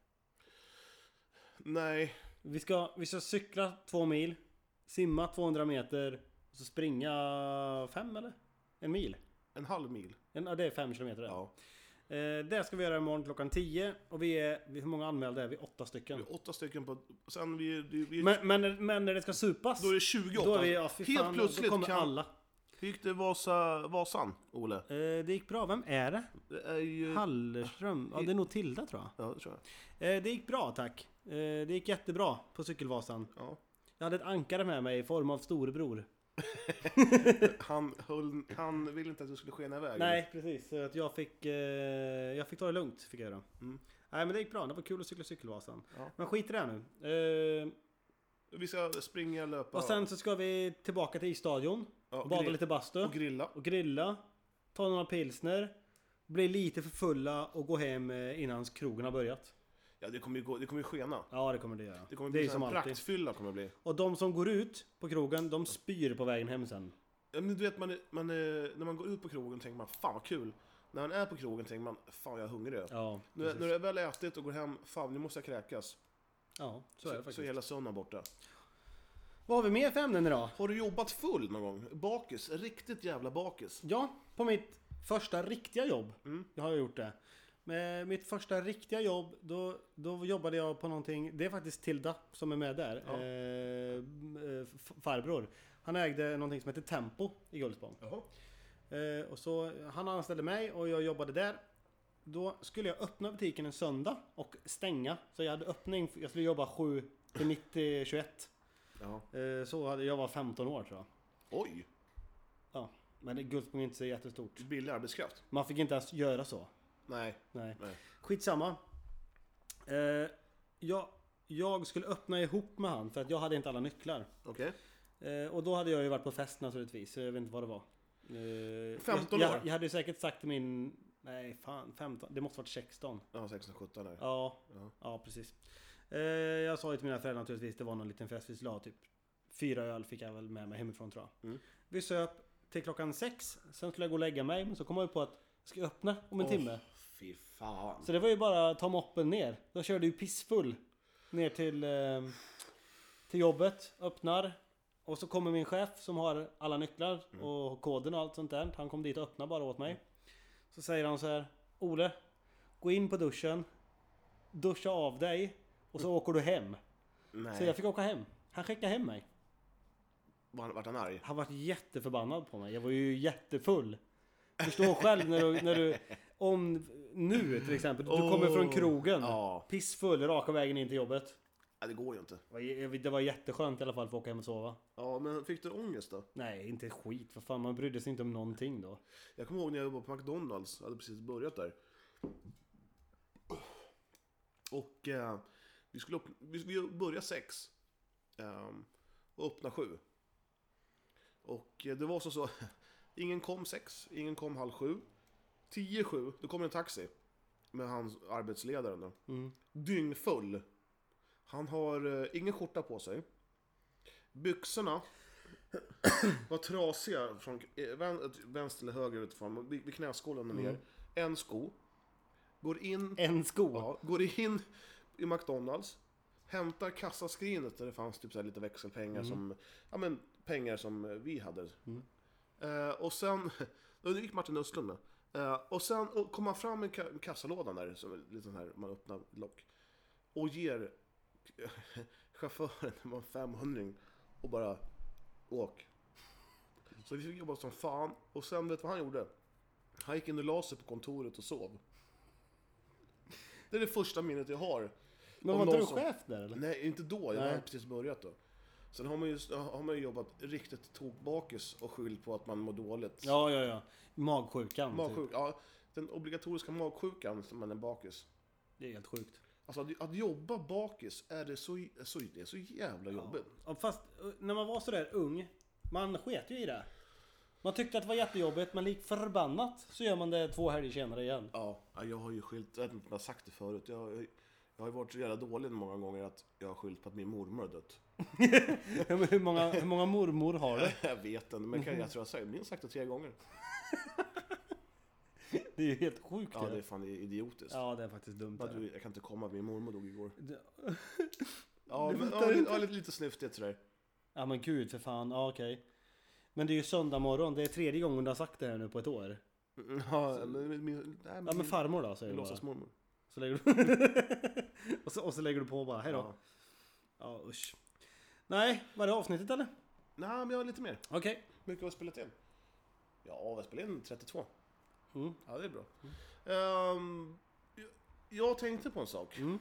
A: Nej,
B: Vi ska, vi ska cykla två mil, simma 200 meter, och så springa fem eller? En mil?
A: en halv mil.
B: En, ja, det är fem kilometer. det.
A: Ja.
B: Eh, det ska vi göra imorgon klockan 10 och vi är, vi- hur många anmälda är vi? Åtta stycken.
A: Vi är åtta stycken på... Sen vi... vi, vi
B: Men, men, men när det ska supas,
A: då är det 28.
B: då är vi, ja, fy
A: Helt
B: fan,
A: plötsligt
B: då kommer
A: kan...
B: alla.
A: Hur gick det Vasa, Vasan, Ole?
B: Eh, det gick bra, vem är det?
A: Det är ju...
B: Hallerström? Ja det är nog Tilda tror jag.
A: Ja, det tror jag.
B: Eh, det gick bra tack. Eh, det gick jättebra på Cykelvasan.
A: Ja.
B: Jag hade ett ankare med mig i form av storebror.
A: Han, höll, han ville inte att du skulle skena iväg.
B: Nej precis, så att jag fick, eh, jag fick ta det lugnt. Fick jag göra. Mm. Nej men det gick bra, det var kul att cykla Cykelvasan.
A: Ja.
B: Men skit i det här nu. Eh,
A: Vi ska springa, löpa
B: och sen så ska vi tillbaka till isstadion.
A: Ja, och
B: bada
A: grill-
B: lite bastu.
A: och grilla.
B: och grilla. Ta några pilsner. Bli lite för fulla och gå hem eh, innan krogen har börjat.
A: Ja, det kommer ju, gå, det kommer ju skena.
B: Ja det kommer det göra.
A: Det kommer
B: är
A: bli
B: ju som
A: som
B: alltid.
A: praktfylla kommer det bli.
B: Och de som går ut på krogen, de spyr på vägen hem sen.
A: Ja, men du vet, man, är- man, är- när man går ut på krogen tänker man fan vad kul. När man är på krogen tänker man fan jag är hungrig.
B: Ja,
A: nu, när du väl ätit och går hem, fan nu måste jag kräkas.
B: ja så är det
A: Så, så
B: faktiskt.
A: är hela söndagen borta.
B: Vad har vi mer för ämnen idag?
A: Har du jobbat full någon gång? Bakis? Riktigt jävla bakis?
B: Ja, på mitt första riktiga jobb
A: Mm.
B: jag har jag gjort det. Med mitt första riktiga jobb, då, då jobbade jag på någonting. Det är faktiskt Tilda som är med där.
A: Ja.
B: Eh, m- eh, f- farbror. Han ägde någonting som heter Tempo i Gullspång.
A: Jaha.
B: Eh, och så, han anställde mig och jag jobbade där. Då skulle jag öppna butiken en söndag och stänga. Så jag hade öppning, jag skulle jobba 7 till 90, 21.
A: Ja.
B: Eh, så hade, jag var 15 år tror jag.
A: Oj!
B: Ja, men det- Guldspång är inte så jättestort.
A: Billig arbetskraft?
B: Man fick inte ens göra så.
A: Nej.
B: Nej.
A: Nej.
B: Skitsamma. Eh, jag, jag skulle öppna ihop med han för att jag hade inte alla nycklar.
A: Okej.
B: Eh, och då hade jag ju varit på fest naturligtvis, så jag vet inte vad det var. Eh,
A: 15
B: jag,
A: år.
B: Jag, jag hade ju säkert sagt till min... Nej, fan 15. Det måste varit 16.
A: Ja, 16-17 där.
B: Ja,
A: Ja.
B: ja. precis. Eh, jag sa ju till mina föräldrar naturligtvis, det var någon liten fest vi skulle ha typ. Fyra öl fick jag väl med mig hemifrån tror jag.
A: Mm.
B: Vi söp till klockan sex, sen skulle jag gå och lägga mig, men så kom jag ju på att ska jag öppna om en timme?
A: Fy fan.
B: Så det var ju bara att ta moppen ner. Då körde ju pissfull ner till, eh, till jobbet, öppnar. Och så kommer min chef som har alla nycklar och koden och allt sånt där. Han kom dit och öppnade bara åt mig. Så säger han så här Ole, gå in på duschen, duscha av dig och så åker du hem.
A: Nej.
B: Så jag fick åka hem. Han skickade hem mig.
A: Var han- Vart han arg?
B: Han vart jätteförbannad på mig. Jag var ju jättefull. Förstår själv när du, när du om nu till exempel. Du kommer från
A: Oh,
B: krogen.
A: ja.
B: Pissfull raka vägen in till jobbet.
A: Ja, det går ju inte.
B: Det var j- Det var jätteskönt i alla fall för att åka hem och sova.
A: Ja, men fick du ångest då?
B: Nej, inte ett skit. För fan, man brydde sig inte om någonting då.
A: Jag kommer ihåg när jag jobbade på McDonalds, jag hade precis börjat där. Och eh, vi skulle upp, vi, vi började sex. ehm, och öppna sju. Och eh, det var så så, ingen kom sex, ingen kom halv sju. Tio sju, då kom en taxi. Med hans arbetsledare då. Dyngfull. Han har eh, ingen skjorta på sig. Byxorna var trasiga från eh, vän- vänster eller höger utifrån, vid vid knäskålen och ner. En sko. Går in,
B: En sko.
A: ja, går in i McDonalds. Hämtar kassaskrinet där det fanns typ så här lite växelpengar som, ja men pengar som eh, vi hade. Eh, och sen, då gick Martin Östlund med. Eh, och sen och kom han fram med ka- kassalådan där, som är lite sån här, man öppnar lock. Och ger chauffören en 500 och bara åk. Så vi fick jobba som fan. Och sen vet du vad han gjorde? Han gick in och la sig på kontoret och sov. Det är det första minnet jag har.
B: Men
A: Om
B: var inte du
A: någon som-
B: chef där eller?
A: Nej, inte då. Jag
B: Nej.
A: hade precis börjat då. Sen har man ju, har man ju jobbat riktigt tokbakis och skyllt på att man mår dåligt.
B: Ja, ja, ja. Magsjukan. Typ.
A: Magsjuk, ja, den obligatoriska magsjukan som man är bakis.
B: Det är helt sjukt.
A: Alltså att, att jobba bakis är det så, så, det är så jävla jobbigt.
B: Ja, fast eh, när man var sådär ung, man sket ju i det. Man tyckte att det var jättejobbigt, men lik förbannat så gör man det två helger senare igen.
A: Ja, ja, jag har ju skyllt, jag vet inte om jag har sagt det förut. Jag, har- jag har ju varit så jävla dålig många gånger att jag har skyllt på att min mormor har dött.
B: hur, många, hur många mormor har du?
A: Jag vet inte, men kan jag tror jag säger minst sagt det tre gånger.
B: Det är ju helt sjukt.
A: Ja, det är fan idiotiskt.
B: ja, det är faktiskt dumt.
A: Ja,
B: det.
A: du, jag kan inte komma, min mormor dog igår.
B: Det-
A: Ja, men, ja, lite, ja, lite, lite snyftigt sådär.
B: Ja men gud för fan, ja okej. Men det är ju söndag morgon, det är tredje gången du har sagt det här nu på ett år.
A: Ja, men, men, men, nej,
B: Ja men farmor då säger
A: Min
B: du bara.
A: låtsasmormor.
B: Så lägger du... och, så, och så lägger du på bara, hejdå. Ja,
A: Ja.
B: usch. Nej, var det avsnittet eller?
A: Nej, men jag har lite mer.
B: Okej.
A: Hur mycket har vi spelat in? Ja, vi har spelat in 32.
B: Mm.
A: Ja, det är bra. Ehm, jag, jag tänkte på en sak.
B: Mm.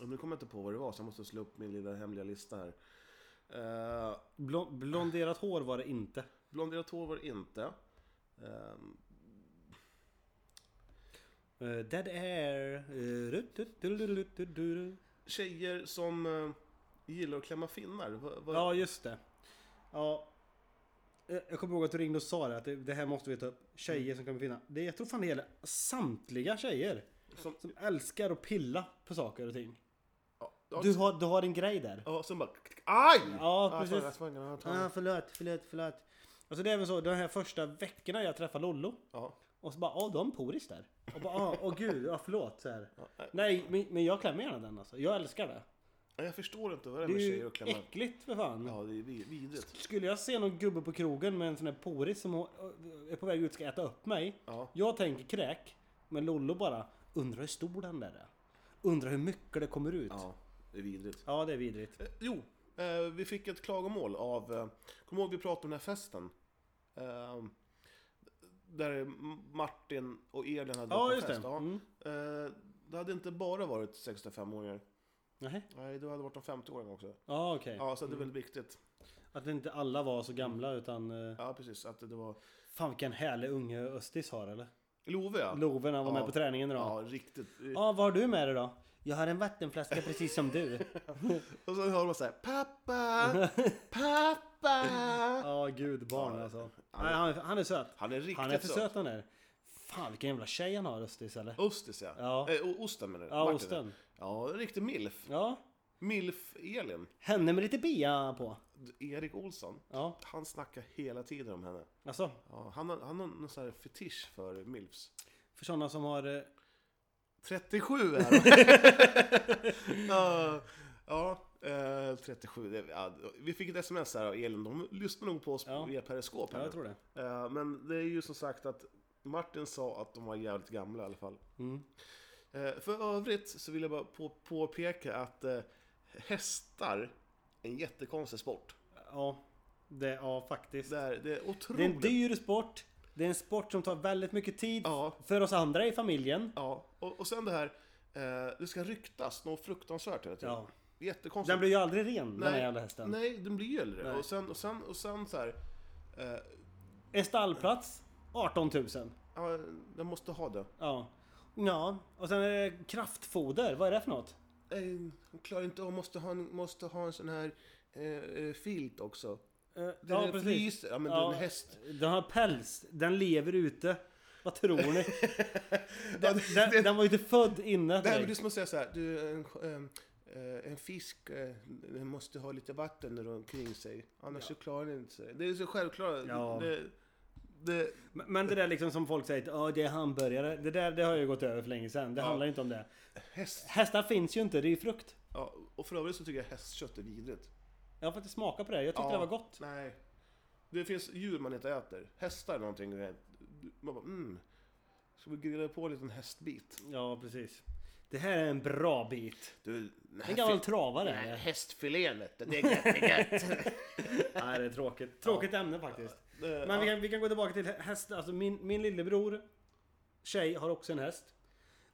A: Och nu kommer jag inte på vad det var, så jag måste slå upp min lilla hemliga lista här. Uh,
B: Blon- blonderat hår var det inte.
A: blonderat hår var det inte. Ehm,
B: Eh, dead air. eh, rutututututu.
A: tjejer som eh, gillar att klämma finnar. Va, va,
B: Ja just det. Ja. Eh, Jag kommer ihåg att du ringde och sa det, att det, det här måste vi ta upp.
A: Mm.
B: Tjejer som kan finna. Det, jag tror fan det gäller samtliga tjejer.
A: Som-
B: Som, älskar att pilla på saker och ting.
A: ja,
B: Du har, du har en grej där.
A: ja, som bara... Aj!
B: Ja,
A: jag
B: precis.
A: tar- jag tar- jag tar-
B: Ah, förlåt, förlåt, förlåt. Alltså det är väl så, de här första veckorna jag träffar Lollo.
A: Ja.
B: Och så bara, ja du har en poris där. Och bara, ah, åh gud, ja förlåt. Så här. Nej, men, men jag klämmer gärna den alltså. Jag älskar det.
A: Ja, Jag förstår inte vad det är
B: Det är
A: med tjejer
B: ju
A: och klämma...
B: äckligt för fan.
A: Ja, det är vid- vidrigt.
B: Skulle jag se någon gubbe på krogen med en sån här poris som hon- eh, är på väg ut ska äta upp mig.
A: Ja.
B: Jag tänker kräk. Men Lollo bara, undrar hur stor den där är. Undrar hur mycket det kommer ut.
A: Ja, det är vidrigt.
B: Ja, det är vidrigt.
A: Eh, Jo, eh, vi fick ett klagomål av... Eh, Kommer ihåg vi pratade om den här festen? Eh, där Martin och Elin hade
B: Ja,
A: varit på
B: just det.
A: fest. Ja.
B: Mm.
A: Eh, det hade inte bara varit 65-åringar.
B: Nej.
A: Nej, det hade varit de 50-åringar också.
B: Ja, okej.
A: Ja, Mm. så det är väldigt viktigt.
B: Att inte alla var så gamla utan... eh,
A: Ja, precis. Att det var...
B: Fan vilken härlig unge Östis har eller?
A: Love, ja.
B: Love när han var
A: Ja.
B: med på träningen idag. Ja,
A: Ja, riktigt.
B: vad har du med dig då? Jag har en vattenflaska precis som du.
A: Och så hör man så här, pappa, pappa.
B: Ja, gud barn
A: Ja,
B: alltså.
A: han-
B: Nej, han, han är söt.
A: Han är riktigt
B: Han är för
A: söt.
B: söt han är. Fan vilken jävla tjej han har Östis eller?
A: Östis ja.
B: Ja.
A: Eh, o- osten menar du?
B: Ja,
A: Martin,
B: osten.
A: Ja, en riktig milf.
B: Ja.
A: Milf-Elin.
B: Henne med lite bia på.
A: Erik Olsson.
B: Ja,
A: Han snackar hela tiden om henne.
B: alltså.
A: Ja, han har, han har någon sån här fetisch för milfs.
B: För sådana som har... eh,
A: 37 är han. Ja, Ja, eh, 37. det- Ja, vi fick ett sms här av Elin. De lyssnar nog på oss
B: Ja.
A: via periskop.
B: Ja, jag tror det.
A: Eh, Men det är ju som sagt att Martin sa att de var jävligt gamla i alla fall.
B: Mm.
A: Eh, För övrigt så vill jag bara på, påpeka att eh, hästar är en jättekonstig sport.
B: Ja. Det, ja faktiskt.
A: Det är, det är otroligt...
B: Det är en dyr sport. Det är en sport som tar väldigt mycket tid
A: Ja.
B: för oss andra i familjen.
A: Ja, och, och sen det här, eh, det ska ryktas något fruktansvärt hela tiden.
B: Ja.
A: Jättekonstigt.
B: Den blir ju aldrig ren den här jävla hästen.
A: Nej, den blir ju aldrig det.
B: Nej.
A: Och sen, och sen, och sen så här,
B: En stallplats, 18 000.
A: ja, jag måste ha det.
B: Ja. Ja, och sen är det kraftfoder. Vad är det för något?
A: Nej, hon klarar inte av, måste ha en, måste ha en sån här eh, eh, filt också.
B: Eh,
A: Den är flis- ja, men du är en häst.
B: Den har päls. Den lever ute. Vad tror ni? den, den, den var ju inte född innan.
A: Det här är
B: direkt.
A: som att säga så här, du, en, en, eh, en fisk eh, den måste ha lite vatten runt omkring sig, annars så klarar den inte sig. Det är så självklart.
B: Ja.
A: Det, det,
B: Men- Men det där liksom som folk säger, ja det är hamburgare. Det där det har ju gått över för länge sedan. Det handlar inte om det.
A: häst,
B: Hästar finns ju inte, det är ju frukt.
A: ja, och för övrigt så tycker jag hästkött är vidrigt.
B: Jag har faktiskt smakat på det, jag tyckte det var gott.
A: Nej. Det finns djur man inte äter. Hästar är någonting. du vet. Man bara, mm. Ska vi grilla på en liten hästbit?
B: Ja, precis. Det här är en bra bit.
A: Du, nej,
B: En gammal
A: fi-
B: travare.
A: nej, hästfilén vet du. Det är gött, det är gött.
B: Nej, det är tråkigt. Tråkigt ämne faktiskt.
A: Eh,
B: Men vi
A: ja.
B: kan, vi kan gå tillbaka till häst. Alltså min, min lillebror, tjej, har också en häst.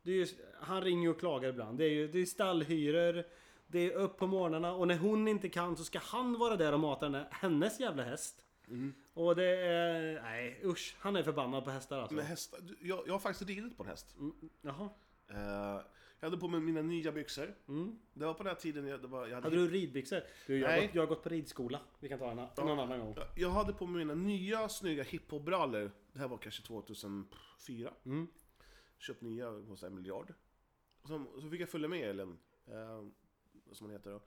B: Det är ju, han ringer ju och klagar ibland. Det är ju det är stallhyror Det är upp på morgnarna och när hon inte kan så ska han vara där och mata den här, hennes jävla häst.
A: Mm.
B: Och det är... Nej usch. Han är förbannad på hästar alltså.
A: Men hästar, du, jag, jag har faktiskt ridit på en häst.
B: Jaha.
A: Eh, jag hade på mig mina nya byxor. Det var på den här tiden jag, det var, jag, hade,
B: Mm. Hade du ridbyxor? Du, jag, har
A: Nej.
B: gått, jag har gått på ridskola. Vi kan ta den här, någon annan gång.
A: jag- jag hade på mig mina nya snygga hiphop-brallor. Det här var kanske 2004. Köpt nya hos en miljard. Och så, så fick jag följa med Elin, eh, som hon heter då,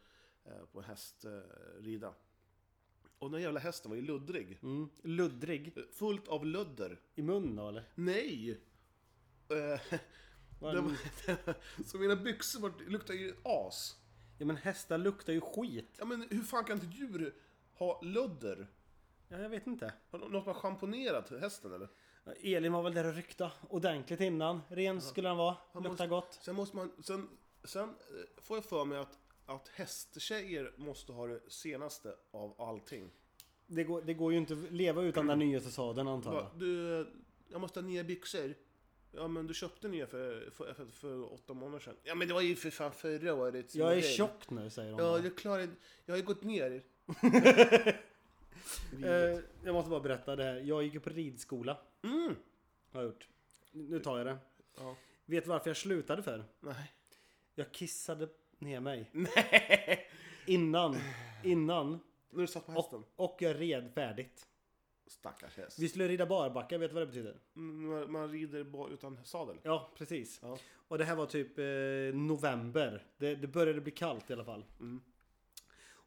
A: eh, på en hästrida. Eh, rida. och den jävla hästen var ju luddrig.
B: Mm. Luddrig.
A: Fullt av lödder.
B: I munnen då eller?
A: Nej! Eh,
B: Var
A: det
B: den-
A: var- så mina byxor var, luktade ju as.
B: Ja men hästar luktar ju skit.
A: Ja, men hur fan kan ett djur ha lödder?
B: Ja, jag vet inte.
A: Har nå- något man schamponerat hästen eller?
B: Ja, Elin var väl där och ryckta ordentligt innan. Ren skulle han vara.
A: Man
B: Luktar
A: måste-
B: gott.
A: Sen måste man... Sen, sen eh, får jag för mig att, att hästtjejer måste ha det senaste av allting.
B: Det går, det går ju inte att leva utan den nyaste sadeln antar jag.
A: Bara, du, eh, jag måste ha nya byxor. Ja men du köpte nya för, för, för, för åtta månader sedan. Ja men det var ju för fan förra årets
B: Jag är
A: modell.
B: tjock nu säger hon.
A: Ja, jag klarar Jag har ju gått ner.
B: Eh, jag måste bara berätta det här. Jag gick ju på ridskola.
A: Mm.
B: Har jag gjort. Nu tar jag det.
A: Ja.
B: Vet du varför jag slutade för?
A: Nej.
B: Jag kissade ner mig. Nej. Innan. Innan.
A: Nu satt på hästen.
B: Och, och jag red färdigt.
A: Stackars häst.
B: Vi skulle rida barbacka, vet du vad det betyder?
A: Mm, Man, man rider bara utan sadel.
B: Ja, precis.
A: Ja.
B: Och det här var typ eh, november. Det, det började bli kallt i alla fall.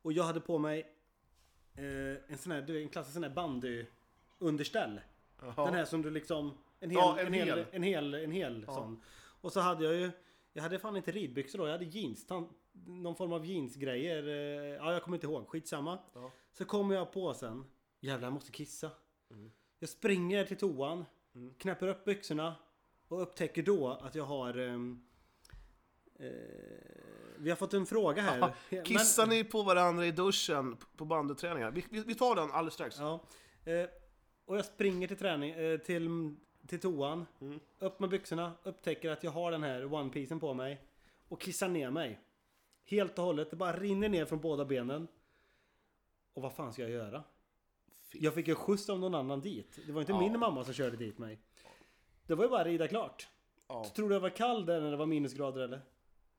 B: Och jag hade på mig eh, en sån här, du vet, en klassisk sån här bandyunderställ. Den här som du liksom... En hel,
A: Ja,
B: en,
A: en
B: hel,
A: hel.
B: en hel, en hel sån. Och så hade jag ju... Jag hade fan inte ridbyxor då, jag hade jeans. Tan, någon form av jeansgrejer. eh, Ja, jag kommer inte ihåg. Skitsamma.
A: Ja.
B: Så kommer jag på sen. Jävlar, jag måste kissa.
A: Mm.
B: Jag springer till toan. Knäpper upp byxorna. Och upptäcker då att jag har... ehm, eh, vi har fått en fråga här. Men-
A: Eh, Kissar ni på varandra i duschen p- på bandyträningar? Vi, vi, vi tar den alldeles strax.
B: Ja. Eh, och jag springer till träning, eh, till, till toan. Upp med byxorna, upptäcker att jag har den här one piecen på mig. Och kissar ner mig. Helt och hållet. Det bara rinner ner från båda benen. Och vad fan ska jag göra? Jag fick ju skjuts av någon annan dit. Det var inte min mamma som körde dit mig. Det var ju bara att rida klart.
A: Ja.
B: Tror du jag var kall där när det var minusgrader eller?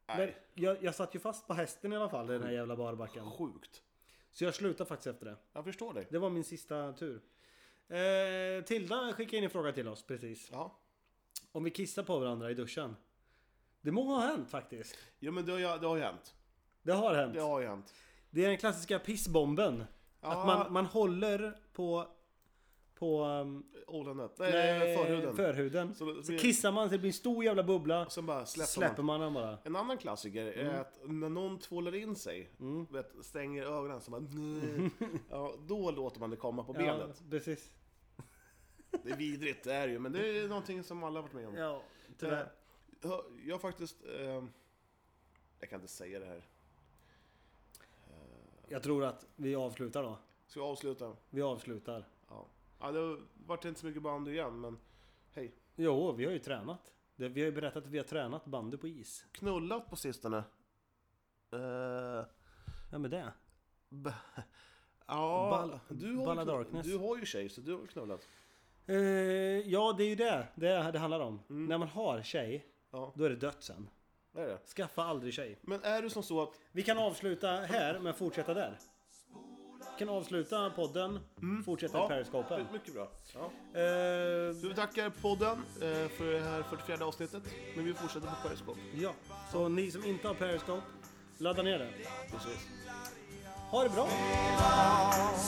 B: Men jag, jag satt ju fast på hästen i alla fall i den här jävla barbacken.
A: Sjukt.
B: Så jag slutade faktiskt efter det.
A: Jag förstår dig.
B: Det var min sista tur. Eh, Tilda skickade in en fråga till oss precis.
A: Ja.
B: Om vi kissar på varandra i duschen. Det må ha hänt faktiskt.
A: Ja men det har, ju- det har ju hänt.
B: Det har hänt.
A: Det har ju hänt.
B: Det är den klassiska pissbomben. Att man, man håller på... På... Um,
A: Ollandet. Nej, Eh, förhuden.
B: förhuden.
A: Så det
B: Så,
A: blir-
B: kissar man så det blir en stor jävla bubbla.
A: Och sen bara släpper,
B: Släpper Mm.
A: man.
B: man den bara.
A: En annan klassiker är att när någon tvålar in sig,
B: Mm.
A: vet, stänger ögonen så bara "Nej." ja, Då låter man det komma på
B: Ja,
A: benet.
B: precis.
A: Det är vidrigt, det är det ju. Men det är någonting som alla har varit med om.
B: Ja, tyvärr.
A: Jag, jag har faktiskt... ehm, jag kan inte säga det här.
B: Jag tror att vi avslutar då.
A: Ska jag avsluta?
B: Vi avslutar.
A: Ja. ja det har varit inte så mycket bandy igen, men hej.
B: Jo, vi har ju tränat. Det, vi har ju berättat att vi har tränat bandy på is.
A: Knullat på sistone? Eh,
B: Vem är det?
A: b- ja,
B: Ball-
A: du, har ju
B: Balla
A: knull-
B: Darkness.
A: du har ju tjej, så du har väl knullat?
B: Eh, ja, det är ju det det, det handlar om. När man har tjej,
A: Ja.
B: då är det dött sen.
A: Det är det.
B: Skaffa aldrig tjej.
A: Men är det som så att...
B: Vi kan avsluta här, men fortsätta där. Vi kan avsluta podden, fortsätta i periscopen.
A: my- mycket bra. Ja.
B: Eh,
A: Så vi tackar podden eh, för det här 44 avsnittet, men vi fortsätter på Periscope.
B: ja, så ni som inte har periscope, ladda ner det.
A: Precis.
B: Ha det bra!
F: oss